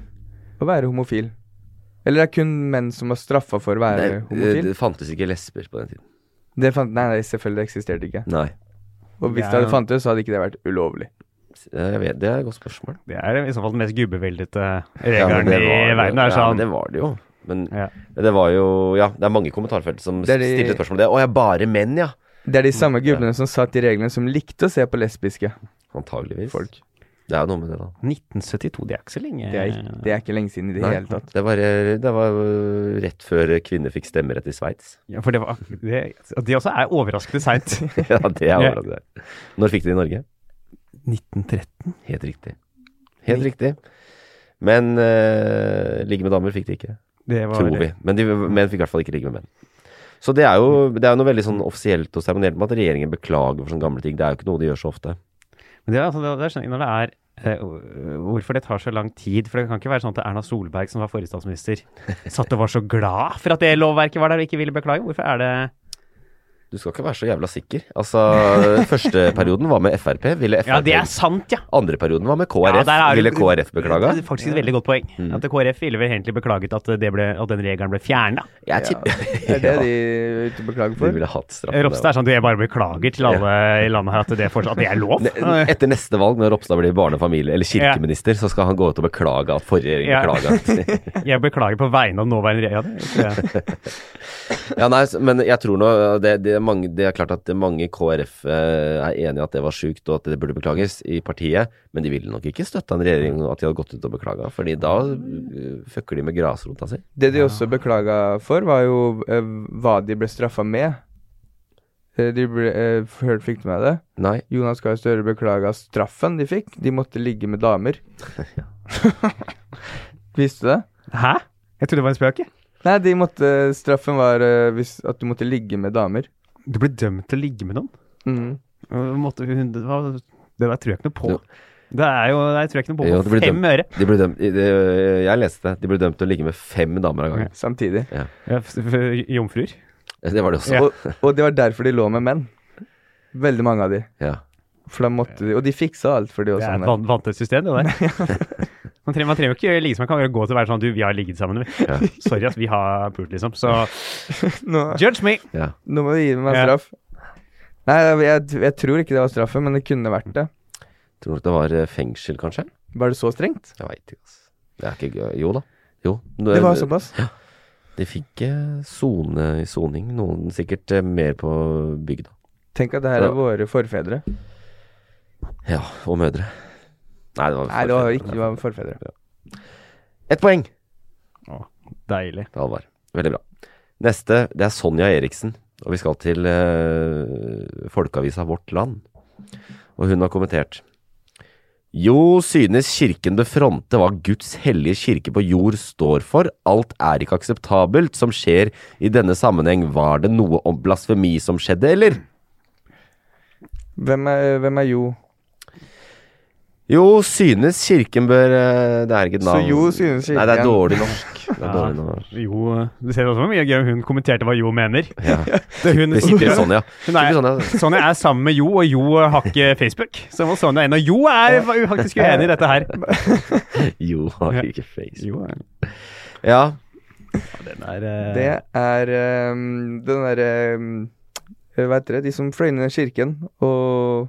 S2: å være homofil. Eller det er kun menn som var straffa for å være
S3: Det, eh, det,
S2: homofil.
S3: det fantes ikke lesber på den tiden.
S2: Det fant, nei, nei, selvfølgelig det eksisterte ikke.
S3: Nei.
S2: Og hvis
S5: Ja.
S2: det hadde fantes, så hadde ikke det vært ulovlig.
S3: Eh, Jeg vet, det er et godt spørsmål.
S5: Det er i så fall den mest gubbeveldete
S3: Ja, men
S5: regelen
S3: det
S5: i
S3: var det.
S5: verden. Er
S3: Ja, men
S5: sånn.
S3: det var det jo. Men
S5: Ja.
S3: det var jo Ja, det er mange i kommentarfelt som
S2: Det er de-
S3: stiller spørsmål om det. Å, jeg er bare menn, ja.
S2: Det er de samme gubbene som satt i reglene, som likte å se på lesbiske
S3: Antageligvis.
S2: folk.
S3: Det er jo noe med det, da.
S5: 1972, det er ikke så lenge.
S2: Det er, ikke- det er ikke lenge siden i det
S3: Nei,
S2: hele tatt.
S3: det var, eh, det var eh, rett før kvinner fikk stemmerett i Sveits.
S5: Ja, for det, var, det, det også er overraskende seint.
S3: ja, det er overraskende. Når fikk de det i Norge?
S5: 1913.
S3: Helt riktig. Helt riktig. Men eh, ligge med damer fikk de ikke,
S5: Det var
S3: tror vi. Men de, menn fikk i hvert fall ikke ligge med menn. Så det er jo, det er jo noe veldig sånn offisielt og seremonielt med at regjeringen beklager for sånne gamle ting. Det er jo ikke noe de gjør så ofte.
S5: Men det, er altså, det, det skjønner jeg når det er eh, hvor- Hvorfor det tar så lang tid. For det kan ikke være sånn at Erna Solberg, som var forrige statsminister, satt og var så glad for at det lovverket var der og ikke ville beklage. Hvorfor er det
S3: Du skal ikke være så jævla sikker. Altså, første perioden var med Frp, ville Frp
S5: Ja, det er sant, ja!
S3: Andre perioden var med
S5: Ja,
S3: KrF,
S5: der er du-
S3: ville KrF beklaga.
S5: Det er faktisk et veldig godt poeng.
S3: Mm.
S5: At KrF ville vel egentlig beklaget at, det ble, at den regelen ble fjerna.
S3: Jeg tipper
S2: Det er det de er ute og beklager
S3: De
S2: for.
S3: ville hatt straff. for
S5: Ropstad er sånn at jeg bare beklager til alle i landet her at det fortsatt at det er lov.
S3: det. Ne- Etter neste valg, når Ropstad blir barne- og familie- eller kirkeminister, så skal han gå ut og beklage at forrige regjering
S5: Ja.
S3: beklaga.
S5: Jeg beklager på vegne av nåværende regjering. Ja, det- det-
S3: Ja, nei, s- men jeg tror nå det, det, er mange, det er klart at det er mange KrF eh, er enig i at det var sjukt og at det burde beklages i partiet, men de ville nok ikke støtta en regjering at de hadde gått ut og beklaga, fordi da eh, fucker de med grasrota si.
S2: Det de også beklaga for, var jo eh, hva de ble straffa med. Eh, De ble, eh, hørte fikk du med det?
S3: Nei.
S2: Jonas Gahr Støre beklaga straffen de fikk. De måtte ligge med damer. Visste du det?
S5: Hæ? Jeg trodde det var en spøk. jeg.
S2: Nei, de måtte, straffen var eh, hvis, at du måtte ligge med damer.
S5: Du ble dømt til å ligge med noen?
S2: Mm.
S5: Øh, Måtte hun det var- Det der tror jeg ikke noe på. Det er jo Det tror jeg ikke noe på.
S3: Jo, det blir
S5: på fem
S3: dømt.
S5: øre.
S3: De ble dømt, de, jeg leste det. De ble dømt til å ligge med fem damer av gangen.
S2: Samtidig.
S5: Ja, f- f- Jomfruer.
S3: Det var det også.
S2: Og, og det var derfor de lå med menn. Veldig mange av de.
S3: Ja.
S2: For da måtte de, Og de fiksa alt for de
S5: Det
S2: også.
S5: er et
S3: sånn
S2: Anne.
S5: van vanntett system, det der. Man trenger, man trenger jo ikke ligge som man kan bare gå til å være sånn Du, vi har ligget sammen. Vi.
S3: Ja.
S5: Sorry, ass, vi har pult, liksom. Så
S2: Nå,
S5: judge me!
S3: ja.
S2: nå må du gi meg
S5: Ja.
S2: straff. Nei, jeg, jeg tror ikke det var straffen, men det kunne vært det.
S3: Tror du nok det var eh, fengsel, kanskje?
S2: Var det så strengt?
S3: Jeg veit ikke, altså. Det er ikke gøy. Jo da. Jo.
S2: Det var såpass.
S3: De fikk eh, sone i soning. Noen sikkert eh, mer på bygda.
S2: Tenk at det her
S3: Ja.
S2: er våre forfedre.
S3: Ja, og mødre. Nei, det var
S2: Nei, det var ikke det var forfedre.
S3: Ett poeng!
S5: Deilig.
S3: til Halvard. Veldig bra. Neste, det er Sonja Eriksen. Og vi skal til eh, folkeavisa Vårt Land. Og hun har kommentert. Jo, synes kirken det fronte hva Guds hellige kirke på jord står for. Alt er ikke akseptabelt som skjer i denne sammenheng. Var det noe om blasfemi som skjedde, eller?
S2: Hvem er, hvem er Jo?
S3: Jo, synes kirken bør eh, Det er ikke et
S2: Så
S3: navn.
S2: jo synes
S3: Nei, det
S2: kirken.
S3: er dårlig norsk. Det er dårlig norsk.
S5: Jo, du ser også hvor mye gøy hun kommenterte hva Jo mener.
S3: Ja.
S5: Det, hun,
S3: Det sitter i Sonja.
S5: Hun er,
S3: Sitter i Sonja. altså.
S5: Sonja er sammen med Jo, og Jo har ikke Facebook. Så må Sonja inn. Og Jo er faktisk uenig i dette her.
S3: Jo, har
S5: Ja.
S3: ikke face.
S5: Jo, er-
S3: Ja,
S5: den er eh,
S2: Det er ehm, den derre ehm, Hva heter det? De som fløy ned kirken og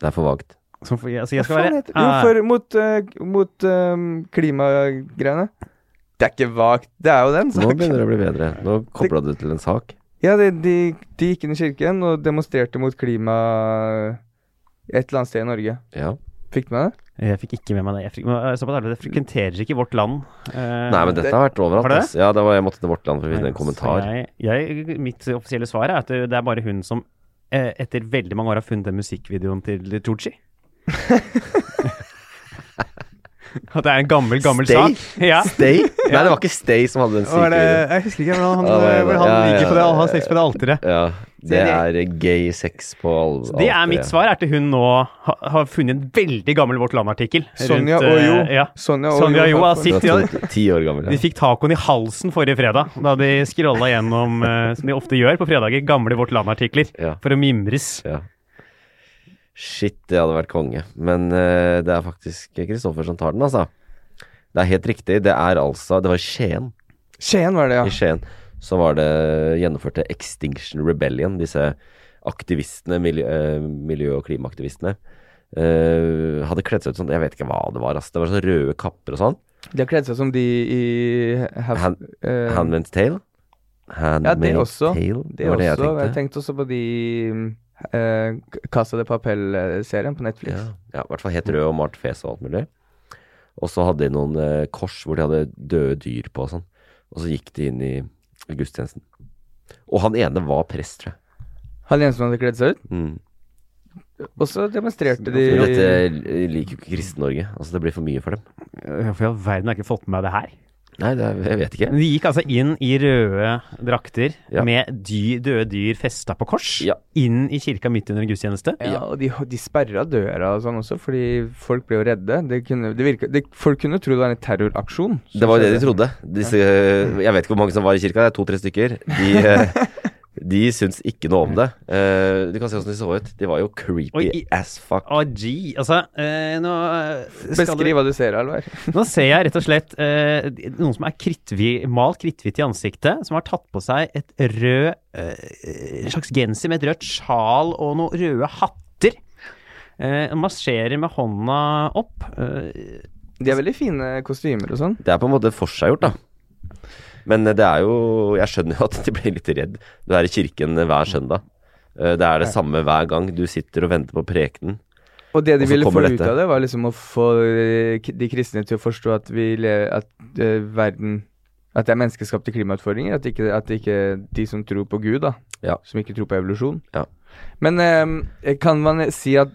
S3: det er for vagt.
S5: som for, altså, jeg skal
S2: Hva faen
S5: være
S2: heter- Jo,
S5: Ah,
S2: for mot, eh, mot eh, klimagreiene. Det er ikke vagt. Det er jo den
S3: Nå
S2: saken.
S3: begynner det å bli bedre. Nå kobla du til en sak.
S2: Ja, de, de, de gikk inn i kirken og demonstrerte mot klima et eller annet sted i Norge.
S3: Ja.
S2: Fikk du med det?
S5: Jeg fikk ikke med meg det. Jeg fikk, men, eh, såpass ærlig, det frekventerer ikke vårt land. Eh,
S3: Nei, men dette har vært overalt.
S5: Var det det?
S3: ass. Ja, det var, jeg måtte til Vårt Land for å finne en
S5: så
S3: kommentar.
S5: Jeg, jeg, mitt offisielle svar er at det det er bare hun som eh, etter veldig mange år har funnet den musikkvideoen til Tooji. at det er en gammel, gammel
S3: Stay?
S5: sak. Ja.
S3: Stay? Nei, det var ikke Stay som hadde den
S5: Hva er det,
S3: syke
S5: jeg husker ikke hvordan han, eh,
S3: Ja, det er det.
S5: hvor han
S3: Ja, ja,
S5: ligger på det,
S3: ja,
S5: han
S3: ja.
S5: har
S3: altså,
S5: sex på det alteret.
S3: ja, Det er gay sex på all,
S5: Det er mitt svar, er til hun nå ha- har funnet en veldig gammel Vårt Land-artikkel.
S2: Sonja
S5: rundt, eh,
S2: og Jo.
S5: Ja.
S2: Sonja og
S5: Sonja
S2: Jo.
S5: Jo har sittet
S3: Det
S5: og
S3: er to- ti år gammel.
S5: De fikk tacoen i halsen forrige fredag, da de scrolla gjennom, eh, som de ofte gjør på fredager, gamle Vårt Land-artikler for å mimres.
S3: Shit, det hadde vært konge. Men eh, det er faktisk Kristoffer som tar den, altså. Det er helt riktig. Det er altså Det var i Skien.
S2: Skien var det, ja.
S3: I Skien så var det gjennomførte Extinction Rebellion, disse aktivistene, miljø, eh, miljø- og klimaaktivistene. eh, hadde kledd seg ut sånn, jeg vet ikke hva det var, ass. Det var sånn røde kapper og sånn.
S2: De har kledd seg som de i have,
S3: Hand,
S2: eh,
S3: Handmaid's Tale.
S2: Ja, det
S3: Handmaid's
S2: også.
S3: Tale,
S2: Det
S3: var det jeg
S2: også.
S3: tenkte.
S2: Jeg tenkte også på de uh, Casa de Papel-serien på Netflix.
S3: Ja, ja, i hvert fall helt rød og malt fjes og alt mulig. Og så hadde de noen eh, kors hvor de hadde døde dyr på og sånn. Og så gikk de inn i gudstjenesten. Og han ene var prest, tror jeg.
S2: Han ene som hadde kledd seg ut.
S3: Mm.
S2: Og så demonstrerte de
S3: Men dette liker jo ikke Kristen-Norge. Altså, det blir for mye for dem.
S5: Hvorfor Eh, i all verden har jeg ikke fått med meg det her?
S3: Nei, det er, jeg vet ikke.
S5: Men De gikk altså inn i røde drakter
S3: Ja.
S5: med dy, døde dyr festa på kors. Inn i kirka midt under en gudstjeneste.
S2: Ja, og de, de sperra døra og sånn også, fordi folk ble jo redde. Det kunne, det virka, det, folk kunne tro det var en terroraksjon.
S3: Det var jo det de trodde. Disse, jeg vet ikke hvor mange som var i kirka, det er to-tre stykker. De, eh, de syns ikke noe om det. Eh, Du kan se åssen de så ut. De var jo creepy
S5: Oi, i-
S3: as fuck.
S5: Å, gee. Altså, eh, nå eh, skal
S2: Beskriv hva du ser, Alvar.
S5: Nå ser jeg rett og slett eh, noen som er krittvi, malt kritthvitt i ansiktet, som har tatt på seg et rød eh, en slags genser med et rødt sjal og noen røde hatter. Eh, og marsjerer med hånda opp. Eh,
S2: De er veldig fine kostymer og sånn.
S3: Det er på en måte forseggjort, da. Men eh, det er jo Jeg skjønner jo at de blir litt redd. Du er i kirken hver søndag. Eh, Det er det samme hver gang. Du sitter og venter på prekenen.
S2: Og det de
S3: Og så
S2: ville få
S3: kommer
S2: ut
S3: dette.
S2: av det, var liksom å få eh, k- de kristne til å forstå at vi lever At eh, verden At det er menneskeskapte klimautfordringer. At ikke, at ikke de som tror på Gud, da,
S3: Ja.
S2: som ikke tror på evolusjon
S3: Ja.
S2: Men eh, kan man si at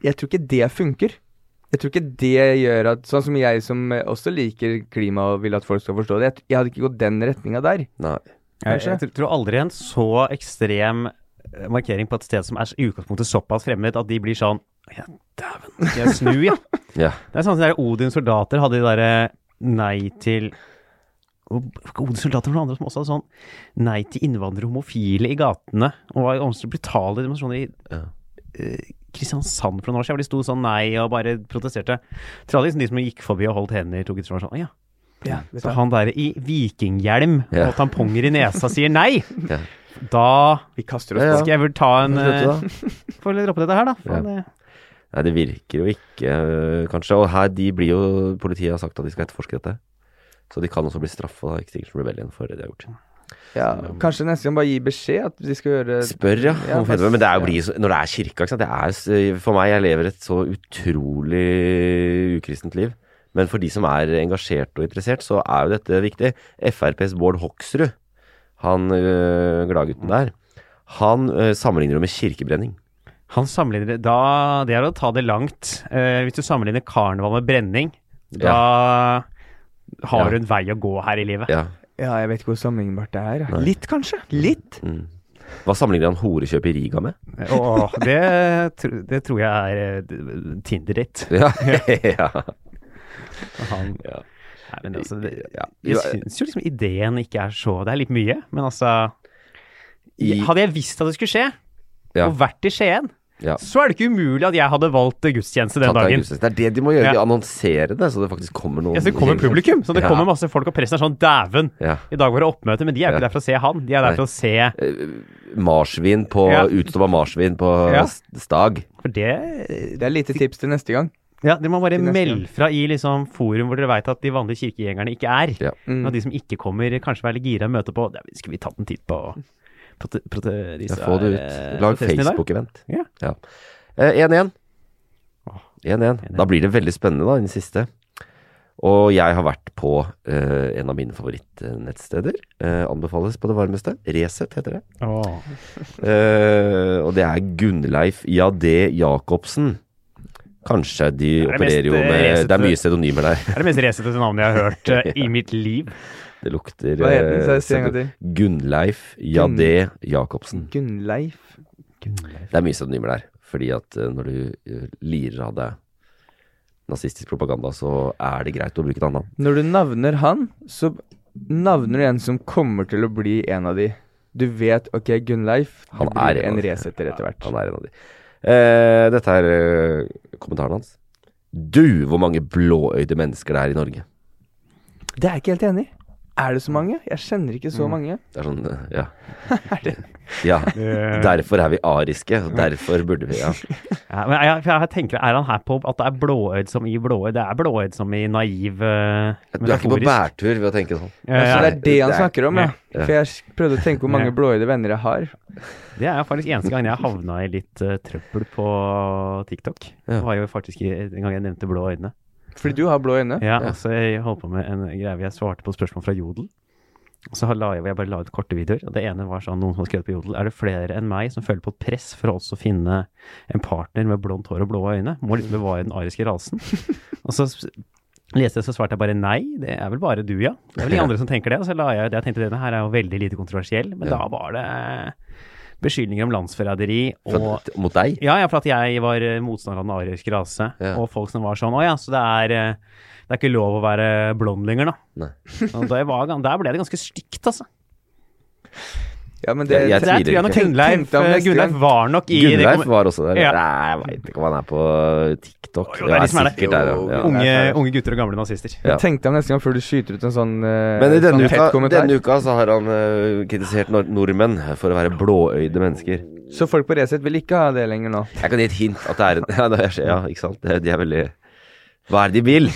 S2: Jeg tror ikke det funker. Jeg tror ikke det gjør at Sånn som jeg som eh, også liker klima og vil at folk skal forstå det, jeg, jeg hadde ikke gått den retninga der.
S3: Nei.
S5: jeg,
S2: Kanskje.
S5: jeg tr- tror aldri en så ekstrem eh, markering på et sted som er s- i utgangspunktet såpass fremmed at de blir sånn Ja, dæven, skal jeg snu, ja?
S3: Ja.
S5: Det er sånn som de der Odins soldater hadde de derre nei til Odins soldater var noen andre som også hadde sånn nei til innvandrere og homofile i gatene. Og var omstridt brutale demonstrasjoner i eh, Kristiansand for noen år siden, hvor de sto sånn nei og bare protesterte. Jeg Tror alle liksom de som gikk forbi og holdt hender, tok et svar sånn «Å ja.
S2: vet
S5: Så
S2: du.
S5: han der i vikinghjelm
S3: Ja.
S5: og tamponger i nesa sier nei!
S3: Ja.
S5: Da
S2: Vi kaster oss
S3: Ja,
S5: skal
S3: ja.
S5: jeg vel ta en
S3: Slutt, da.
S5: eh, Får vel droppe dette her, da.
S3: Ja.
S5: Faen, det-
S3: Nei, det virker jo ikke, øh, kanskje. Og her, de blir jo Politiet har sagt at de skal etterforske dette. Så de kan også bli straffa av Extinction Rebellion for det de har gjort.
S2: Ja, kanskje neste gang bare gi beskjed at de skal gjøre
S3: Spør, ja.
S2: Ja,
S3: om fedme, men det er jo
S2: ja.
S3: blir, så- når det er kirka, ikke sant. Det er, s- øh, for meg, jeg lever et så utrolig ukristent liv. Men for de som er engasjert og interessert, så er jo dette viktig. FrPs Bård Hoksrud, han øh, gladgutten der, han øh, sammenligner det med kirkebrenning.
S5: Han sammenligner da, Det er å ta det langt. Eh, hvis du sammenligner karneval med brenning, da har
S3: Ja.
S5: du en vei å gå her i livet.
S3: Ja.
S2: Ja, jeg vet ikke hvor sammenlignbart det er.
S3: Nei.
S2: Litt, kanskje. Litt.
S3: Mm. Hva sammenligner han horekjøp i Riga med?
S5: Og det, tr- det tror jeg er eh, Tinder-date.
S3: Ja, ja.
S5: Han-
S3: Ja.
S5: Nei, men altså, det,
S3: Ja.
S5: jeg syns jo liksom ideen ikke er så Det er litt mye, men altså
S3: I-
S5: Hadde jeg visst at det skulle skje,
S3: Ja.
S5: og vært i Skien,
S3: Ja.
S5: så er det ikke umulig at jeg hadde valgt eh, gudstjeneste den
S3: Tante
S5: dagen.
S3: Augustus. Det er det de må gjøre. De
S5: Ja.
S3: annonserer det, så det faktisk kommer noen.
S5: Ja, så det kommer publikum. Så det
S3: Ja.
S5: kommer masse folk, og presten er sånn Dæven!
S3: Ja.
S5: I dag var det oppmøte, men de er jo
S3: Ja.
S5: ikke der for å se han. De er
S3: Nei.
S5: der for å se
S3: Marsvin på
S5: Ja.
S3: Utstoppa marsvin på
S5: Ja.
S3: Stag.
S5: For det
S2: Det er lite tips til neste gang.
S5: Ja, dere må bare
S2: Til neste
S5: melde fra i liksom forum hvor dere veit at de vanlige kirkegjengerne ikke er.
S3: Ja.
S2: Mm.
S5: Og de som ikke kommer, kanskje være litt gira og møte på «Nei, Skulle vi tatt en titt på prote, prote, disse
S3: Ja, få det ut.
S5: her, eh,
S3: Lag
S5: protestene i dag?»
S3: Facebook-event.
S5: Ja.
S3: Ja. Eh, 1-1. 1-1. Da blir det veldig spennende, da, den siste. Og jeg har vært på eh, en av mine favorittnettsteder. Eh, anbefales på det varmeste. Resett heter det.
S5: Åh.
S3: Eh, og det er Gunnleif Jadé Jacobsen. Kanskje de
S5: Det er det mest,
S3: opererer jo
S5: eh,
S3: med Det er
S5: resete-
S3: mye pseudonymer der.
S5: Det er det mest resete navnet jeg har hørt eh, i mitt liv.
S3: Det lukter
S2: Hva heter den?
S3: eh,
S2: Så jeg sier en gang
S3: søppel.
S2: til.
S3: Gunnleif Jadé Jacobsen.
S2: Gunnleif.
S3: Det er mye pseudonymer der, fordi at eh, når du eh, lirer av deg nazistisk propaganda, så er det greit å bruke et annet navn.
S2: Når du navner han, så navner du en som kommer til å bli en av de. Du vet ok, Gunnleif
S3: Han
S2: det blir
S3: er en av
S2: en
S3: de.
S2: resetter etter hvert.
S3: Han er en av de. Eh, dette er eh, kommentaren hans. Du, hvor mange blåøyde mennesker det er i Norge.
S2: Det er jeg ikke helt enig i. Er det så mange? Jeg kjenner ikke så mange.
S3: Det er sånn, eh, ja. Ja. Derfor er vi ariske, og derfor burde vi ja.
S5: Ja, men jeg, for jeg tenker, Er han her på at det er blåøyd som i blåøyd? Det er blåøyd som i naiv eh,
S3: Du er ikke på
S5: metaforisk.
S3: bærtur ved å tenke sånn.
S5: Ja, ja.
S2: Så Altså, det er det han
S5: Det er-
S2: snakker om, ja.
S5: Ja.
S2: For jeg s- prøvde å tenke hvor mange
S5: Ja.
S2: blåøyde venner jeg har.
S5: Det er faktisk eneste gangen jeg havna i litt eh, trøbbel på TikTok. Det var jo faktisk i- en gang jeg nevnte blå øyne.
S2: Fordi du har blå øyne?
S5: Ja, og så jeg holdt på med en greie hvor jeg svarte på spørsmål fra Jodel. Og så la jeg, jeg bare la ut korte videoer. Og det ene var sånn noen som har skrevet på Jodel Er det flere enn meg som føler på et press for å også finne en partner med blondt hår og blå øyne? Må liksom bevare den ariske rasen. og så s- leste jeg, så svarte jeg bare nei. Det er vel bare du, ja. Det er vel de andre som tenker det. Og så la jeg ut det. Jeg tenkte denne her er jo veldig lite kontroversiell, men
S3: Ja.
S5: da var det beskyldninger om landsforræderi og
S3: For, mot deg?
S5: ja, ja, for at jeg var eh, motstander av den ariske rase. Og folk som var sånn Å ja, så det er, eh, det er ikke lov å være blond lenger, da.
S3: Nei.
S5: Og det var, gan- der ble det ganske stygt, altså.
S2: Ja, men
S3: Jeg- jeg
S5: Så
S3: tviler
S5: jeg tror jeg nok
S3: ikke.
S5: Gunnleif, eh,
S2: Tenkte han neste
S5: Gunnleif
S2: gang.
S5: var nok i det
S3: Gunnleif
S5: kom-
S3: var også der.
S5: Ja.
S3: Nei, jeg veit ikke om han er på TikTok.
S5: Jo, det er de som er det.
S3: sikkert der, ja. ja.
S5: Unge, unge gutter og gamle nazister.
S3: Ja.
S2: Tenkte han neste gang før du skyter ut en sånn, eh,
S3: Men i
S2: sånn
S3: denne
S2: tett
S3: uka,
S2: kommentar.
S3: denne uka så har han eh, kritisert nor nordmenn for å være blåøyde mennesker.
S2: Så folk på Resett vil ikke ha det lenger nå.
S3: Jeg kan gi et hint at det er en Ja, det er, ja ikke sant? Det- De er veldig Hva er det de vil?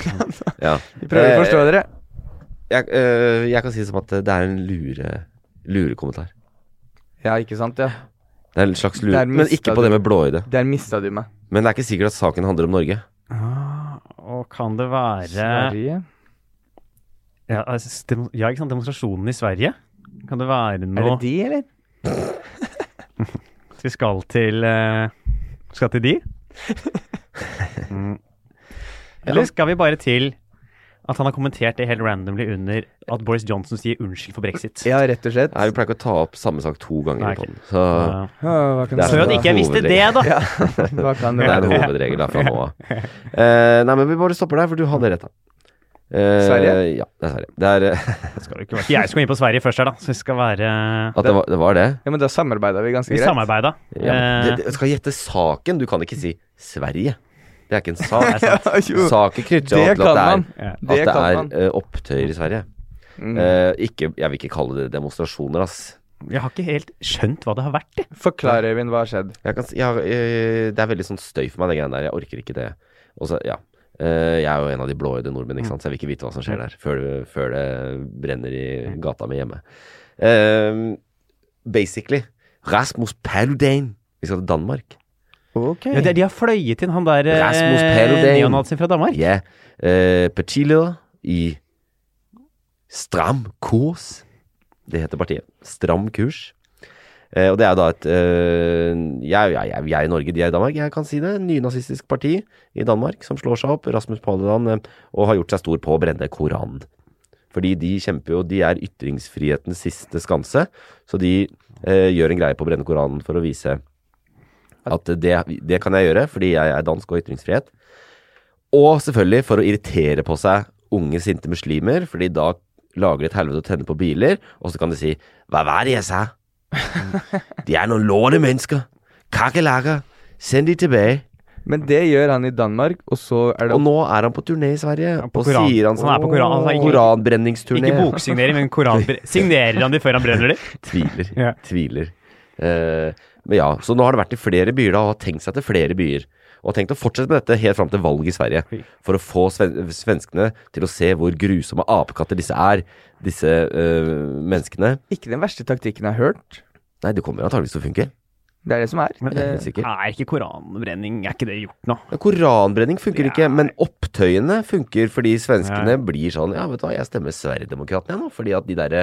S3: Ja. Eh,
S2: Vi prøver å forstå dere.
S3: Jeg, eh, jeg kan si det som at det er en lure lurekommentar.
S2: Ja, ikke sant? Ja.
S3: Det er en slags lure
S2: Der
S3: Men
S2: mista
S3: ikke på det
S2: du-
S3: med blåøyde.
S2: Der mista du meg.
S3: Men det er ikke sikkert at saken handler om Norge.
S5: Og kan det være
S2: Sverige?
S5: Ja, altså, demo- ja, ikke sant. Demonstrasjonen i Sverige. Kan det være
S2: Er det
S5: noe
S2: de, eller?
S5: Vi skal til eh, Skal til de? Mm. Eller skal vi bare til at han har kommentert det helt randomly under at Boris Johnson sier unnskyld for brexit?
S2: Ja, rett og slett.
S3: Nei, vi pleier ikke å ta opp samme sak to ganger
S5: Nei,
S3: i
S5: ok.
S3: podden. Så
S5: Ja.
S2: Ja, hva kan
S3: Det
S2: det
S3: er
S5: Sorry
S2: være?
S5: at ikke jeg visste det, da!
S2: Ja, hva kan det
S3: Det er
S2: være?
S3: en hovedregel da, fra nå av. Eh, nei, men vi bare stopper der, for du hadde rett. da. Eh,
S2: Sverige?
S3: Ja, det er Sverige. Det er, eh,
S5: Skal det ikke være- Jeg skal inn på Sverige først her, da. Så vi skal være
S3: at det var det? Var det?
S2: Ja, men da samarbeida vi ganske
S5: Vi
S2: greit.
S5: samarbeida.
S3: Ja, men
S5: Eh,
S3: det, det skal gjette saken. Du kan ikke si Sverige. Det er ikke en sak.
S2: Ja, jo.
S3: Saken knytter seg
S2: Det
S3: til at det
S2: kan
S3: er,
S2: man.
S5: ja.
S3: at
S2: Det
S3: det
S2: kan
S3: er
S2: man. Mm.
S3: eh, opptøyer i Sverige. Eh, ikke, jeg vil ikke kalle det demonstrasjoner, ass.
S5: Jeg har ikke helt skjønt hva det har vært, jeg.
S2: Forklar, Øyvind, hva har skjedd?
S3: Jeg kan, si- jeg, har, eh, det er veldig sånn støy for meg, det greiene der. Jeg orker ikke det. Og så, ja. Eh, jeg er jo en av de blåøyde nordmenn, ikke sant? så jeg vil ikke vite hva som skjer der før, det- før det brenner i gata mi hjemme. Eh, basically Rasmus Paludan Vi skal til Danmark.
S2: Ok.
S5: Ja, de, de har fløyet inn han der eh,
S3: Rasmus Paludan.
S5: neonazien fra Danmark.
S3: Ja. Eh, partileder i Stram kurs. Det heter partiet. Stram kurs. Eh, og det er da et eh, jeg, jeg, jeg, jeg er i Norge, de er i Danmark. Jeg kan si det. Nynazistisk parti i Danmark som slår seg opp. Rasmus Paludan eh, og har gjort seg stor på å brenne Koranen. Fordi de kjemper jo De er ytringsfrihetens siste skanse. Så de eh, gjør en greie på å brenne Koranen for å vise at det, det kan jeg gjøre fordi jeg er dansk og har ytringsfrihet. Og selvfølgelig for å irritere på seg unge, sinte muslimer, fordi da lager de et helvete og tenner på biler, og så kan de si Hva var det jeg sa? De er noen låne mennesker. Kakerlakker. Send de tilbake.
S2: Men det gjør han i Danmark, og så er det
S3: Og nå er han på turné i Sverige,
S5: Ja, på
S3: og
S5: Koran.
S3: sier han sånn
S5: Han er på Koran, altså, ikke-
S3: Koranbrenningsturné.
S5: Ikke boksignering, men koranbr... Signerer han de før han brenner de?
S3: Tviler.
S5: Ja.
S3: Tviler. Eh, men ja, så nå har det vært i flere byer da, og har tenkt seg til flere byer. Og har tenkt å fortsette med dette helt fram til valget i Sverige. For å få sven svenskene til å se hvor grusomme apekatter disse er, disse eh, menneskene.
S2: ikke den verste taktikken jeg har hørt.
S3: Nei, det kommer antakeligvis til å funke.
S2: Det er det som er.
S3: Jeg er helt sikker.
S5: Er Eh, ikke koranbrenning Er ikke det gjort nå?
S3: Ja, Koranbrenning funker ikke, men opptøyene funker fordi svenskene
S5: Nei.
S3: blir sånn Ja, vet du hva, jeg stemmer Sverigedemokraterna nå, fordi at de derre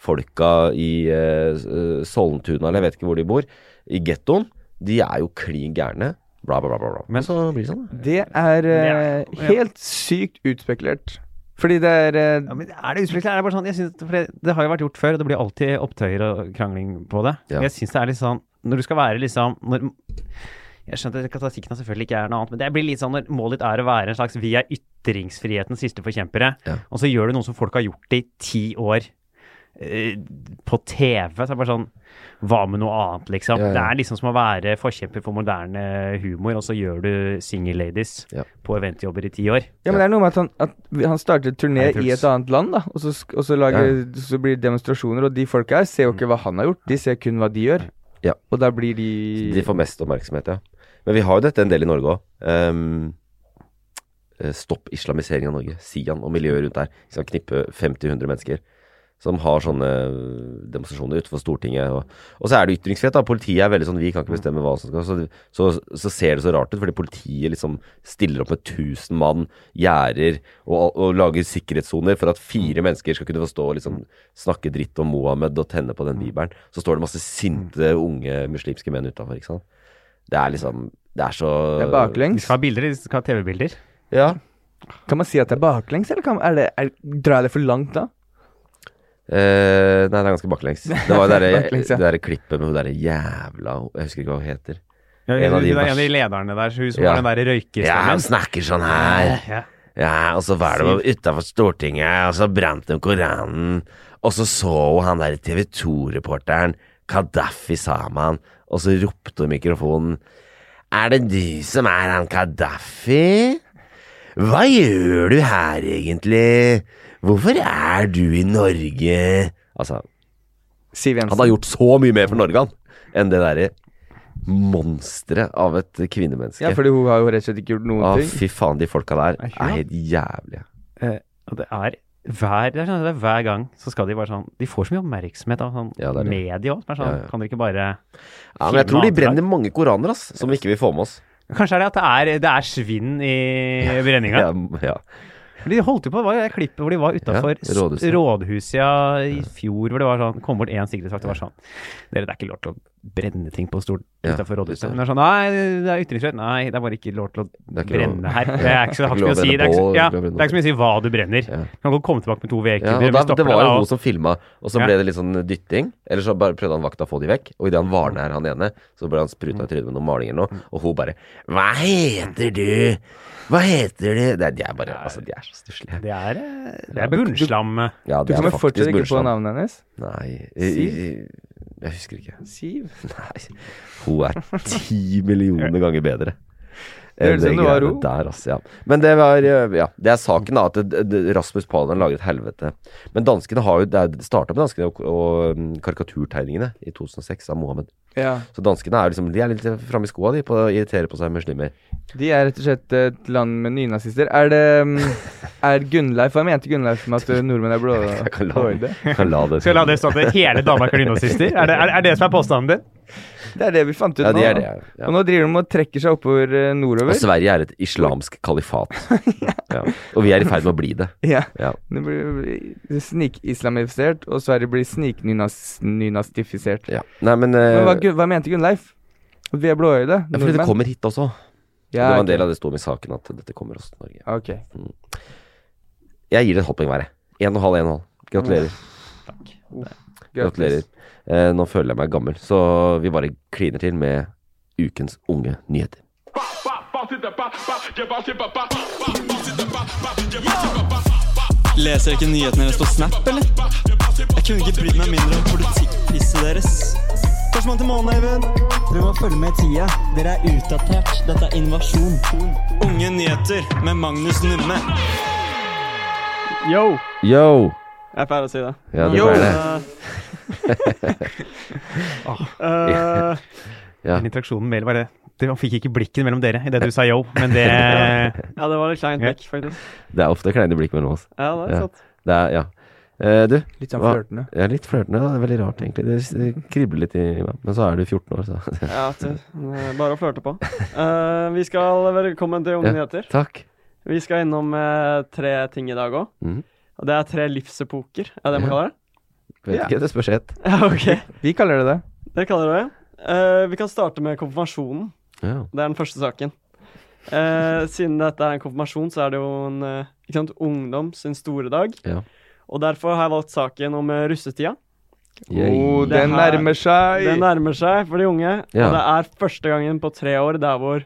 S3: folka i eh, s- eh, Sollentuna, eller jeg vet ikke hvor de bor, i gettoen, de er jo klin gærne. Bla, bla, bla, bla. bla.
S5: Men-
S3: så blir det sånn. da.
S2: Det er eh,
S5: Det er- ja.
S2: helt sykt utspekulert. Fordi det er eh,
S5: Ja, men er det utsprekelig? Er det bare sånn jeg synes, for det, det har jo vært gjort før, og det blir alltid opptøyer og krangling på det.
S3: Ja.
S5: Jeg syns det er litt sånn Når du skal være liksom når, Jeg skjønner at katasikken selvfølgelig ikke er noe annet, men det blir litt sånn når målet ditt er å være en slags Vi er ytringsfrihetens siste forkjempere,
S3: Ja.
S5: og så gjør du noe som folk har gjort i ti år. eh, På TV. Så er det bare sånn Hva med noe annet, liksom?
S3: Ja, ja.
S5: Det er liksom som å være forkjemper for moderne humor, og så gjør du Single Ladies
S3: Ja.
S5: på eventjobber i ti år.
S2: Ja, men det er noe med at han, at vi- han starter turné
S5: Nei, Truls.
S2: i et annet land, da. Og så, sk- og så, lager, så blir det demonstrasjoner, og de folka her ser jo ikke hva han har gjort, de ser kun hva de gjør.
S3: Mm. Ja.
S2: Og da blir de
S3: De får mest oppmerksomhet, ja. Men vi har jo dette en del i Norge òg. stopp islamisering av Norge, Sian og miljøet rundt der. Vi skal knippe 50-100 mennesker som har sånne demonstrasjoner utenfor Stortinget. Og, og så er det ytringsfrihet. da, Politiet er veldig sånn Vi kan ikke bestemme hva som skal så, så, så ser det så rart ut, fordi politiet liksom stiller opp med 1000 mann, gjerder, og, og lager sikkerhetssoner for at fire mennesker skal kunne få stå og liksom snakke dritt om Mohammed og tenne på den bibelen. Så står det masse sinte unge muslimske menn utafor, ikke sant. Det er liksom Det er så
S2: Det er
S5: De
S2: baklengs.
S5: skal ha bilder, de skal ha TV-bilder.
S3: Ja.
S2: Kan man si at det er baklengs, eller kan, er det, er, drar jeg det for langt da?
S3: Eh, nei, det er ganske baklengs. Det var jo det der-
S2: Baklengs, ja.
S3: det derre klippet med hun derre jævla Jeg husker ikke hva hun heter.
S5: Ja,
S3: En av de
S5: hun er en
S3: vers-
S5: av de lederne der, så hun som
S3: Ja.
S5: har den der
S3: Ja, han
S5: røykestemmen.
S3: snakker sånn her.
S5: Ja.
S3: Ja, og så var det utafor Stortinget, og så brant de Koranen. Og så så hun han der TV 2-reporteren, Kadafi Saman, og så ropte hun i mikrofonen Er det du som er han Kadafi? Hva gjør du her egentlig? Hvorfor er du i Norge? Altså,
S2: Siv Jensen.
S3: Han har gjort så mye mer for Norge han, enn det derre monsteret av et kvinnemenneske.
S2: Ja, fordi hun har jo rett og slett ikke gjort noen
S3: Å,
S2: ting.
S3: fy faen, de folka der
S5: Er
S3: er
S5: ikke det?
S3: helt jævlige.
S5: Eh, og det er hver, det er sånn, at det er hver gang så skal de bare sånn De får så mye oppmerksomhet av sånn
S3: Ja, det er det.
S5: media òg, som er
S3: Ja,
S5: sånn
S3: ja.
S5: Kan dere ikke bare
S3: Ja, men jeg tror de
S5: filme
S3: brenner mange koraner, ass, som vi ikke vil få med oss.
S5: Kanskje er det at det er, det er svinn i brenninga.
S3: Ja, ja.
S5: For De holdt jo på, det var jo det klippet hvor de var utafor
S3: Ja, rådhuset.
S5: rådhuset ja, i fjor, hvor det var sånn Kom bort én sikkerhetsvakt og var sånn Dere, det er ikke lov til å brenne ting på stolen
S3: Ja,
S5: utafor rådhuset.
S3: utenfor.
S5: Men det er sånn Nei, det er ytringsfrihet. Nei, det er bare ikke lov til å
S3: Det er ikke lov.
S5: brenne her. Det er ikke så
S3: Det er
S5: har
S3: ikke
S5: ikke mye
S3: lov å
S5: å si. Det er ikke,
S3: brenne
S5: så-
S3: bål, det er ikke
S5: ja,
S3: lov å brenne
S5: det er ikke så mye å si hva du brenner.
S3: Ja.
S5: Du kan godt komme tilbake med to
S3: Ja,
S5: vedkubber.
S3: og
S5: vi
S3: da,
S5: stopper
S3: det var jo
S5: deg, og-
S3: hun som filma, og så
S5: Ja.
S3: ble det litt sånn dytting. Eller så bare prøvde han vakta å få de vekk, og idet han varner han ene, så ble han spruta i trynet med noen malinger nå, og hun bare Hva heter du? Hva heter du? Det er, de er bare Altså, de er så stusslige.
S5: Det er, eh, det er bunnslam.
S3: Ja,
S2: Du
S3: de er
S2: kommer
S3: faktisk
S2: fortsatt ikke på
S3: bullshit.
S2: navnet hennes.
S3: Nei
S2: Siv?
S3: jeg, jeg husker ikke.
S2: Siv.
S3: Nei. Hun er ti millioner ganger bedre.
S2: Det høres
S3: enn
S2: ut som det var
S3: greiene
S2: hun.
S3: Der, altså, ja. Men det var eh, Ja, det er saken, da. At det- det- Rasmus Paludan lager et helvete. Men danskene har jo Det starta med danskene og, og mm, karikaturtegningene i 2006 av Mohammed.
S2: Ja.
S3: Så danskene er jo liksom De er litt framme i skoa, de, på å irritere på seg muslimer.
S2: De er rett og slett et land med nynazister. Er det mm, Er Gunnleif Hva mente Gunnleif med at uh, nordmenn er blå?
S3: Jeg kan la, jeg kan la det
S5: Skal jeg la det stå til hele Danmark er nynazister? Er, det- er, er det som er påstanden din?
S2: Det er det vi fant ut
S3: Ja,
S2: nå.
S3: de er
S2: da.
S3: det. ja. Ja. Altså.
S2: Og nå driver de og trekker seg oppover eh,
S3: Og
S2: nordover.
S3: Sverige er et islamsk kalifat. ja. Og vi er i ferd med å bli det.
S2: Ja.
S3: Ja.
S2: Det blir snikislamifisert, og Sverige blir sniknynazifisert.
S3: ja. Nei, men,
S2: Men hva,
S3: eh,
S2: Gun- hva mente Gunnleif? At vi er blåøyde?
S3: Ja, fordi det kommer hit også.
S2: Ja,
S3: det var en
S2: ok.
S3: del av det som sto om i saken, at dette kommer også til Norge.
S2: Ok.
S3: Jeg gir det et halvt poeng hver, jeg. En og en halv, en og en halv. Gratulerer. Gratulerer. Eh, nå føler jeg meg gammel, så vi bare kliner til med ukens unge nyheter.
S7: Leser jeg ikke nyhetene deres på Snap, eller? Jeg kunne ikke brydd meg mindre om politikkpisset deres. Førstemann til månen, Eivind. Prøv å følge med i tida. Dere er utdatert. Dette er invasjon. Unge nyheter med Magnus Numme.
S8: Yo!
S3: Yo!
S8: Jeg pleier å si det.
S3: Ja, det
S8: Yo!
S3: var det.
S8: Eh,
S3: Ja.
S5: Den interaksjonen mellom var det, det Man fikk ikke blikken mellom dere idet du sa yo, men det
S8: ja, det var litt kleint blikk, faktisk.
S3: Det er ofte kleine blikk mellom oss.
S8: Ja, det er
S3: Ja.
S8: sant.
S3: Det er, ja. Eh, du?
S2: Litt sånn
S3: hva-
S2: flørtende.
S3: Ja, litt flørtende. ja. Det er veldig rart, egentlig. Det s- Det kribler litt i meg. Men så er du 14 år, så
S8: Ja, det, eh, bare å flørte på. Eh, vi skal Velkommen til Unge
S3: Ja,
S8: nyheter.
S3: Takk.
S8: Vi skal innom eh, tre ting i dag òg.
S3: Mhm.
S8: Og det er tre livsepoker, er det det man
S3: Ja.
S8: kaller det?
S3: Vet
S2: Ja.
S3: ikke, det spørs het.
S8: Ja, ok.
S2: Vi kaller det det.
S8: Det kaller dere det. Eh, vi kan starte med konfirmasjonen.
S3: Ja.
S8: Det er den første saken. Eh, siden dette er en konfirmasjon, så er det jo en eh, ikke sant, ungdom sin store dag.
S3: Ja.
S8: Og derfor har jeg valgt saken om eh, russetida.
S2: Yay. Oh,
S8: Det
S2: den
S8: her-
S2: nærmer seg.
S8: Den nærmer seg for de unge.
S2: Ja.
S8: Og det er første gangen på tre år der hvor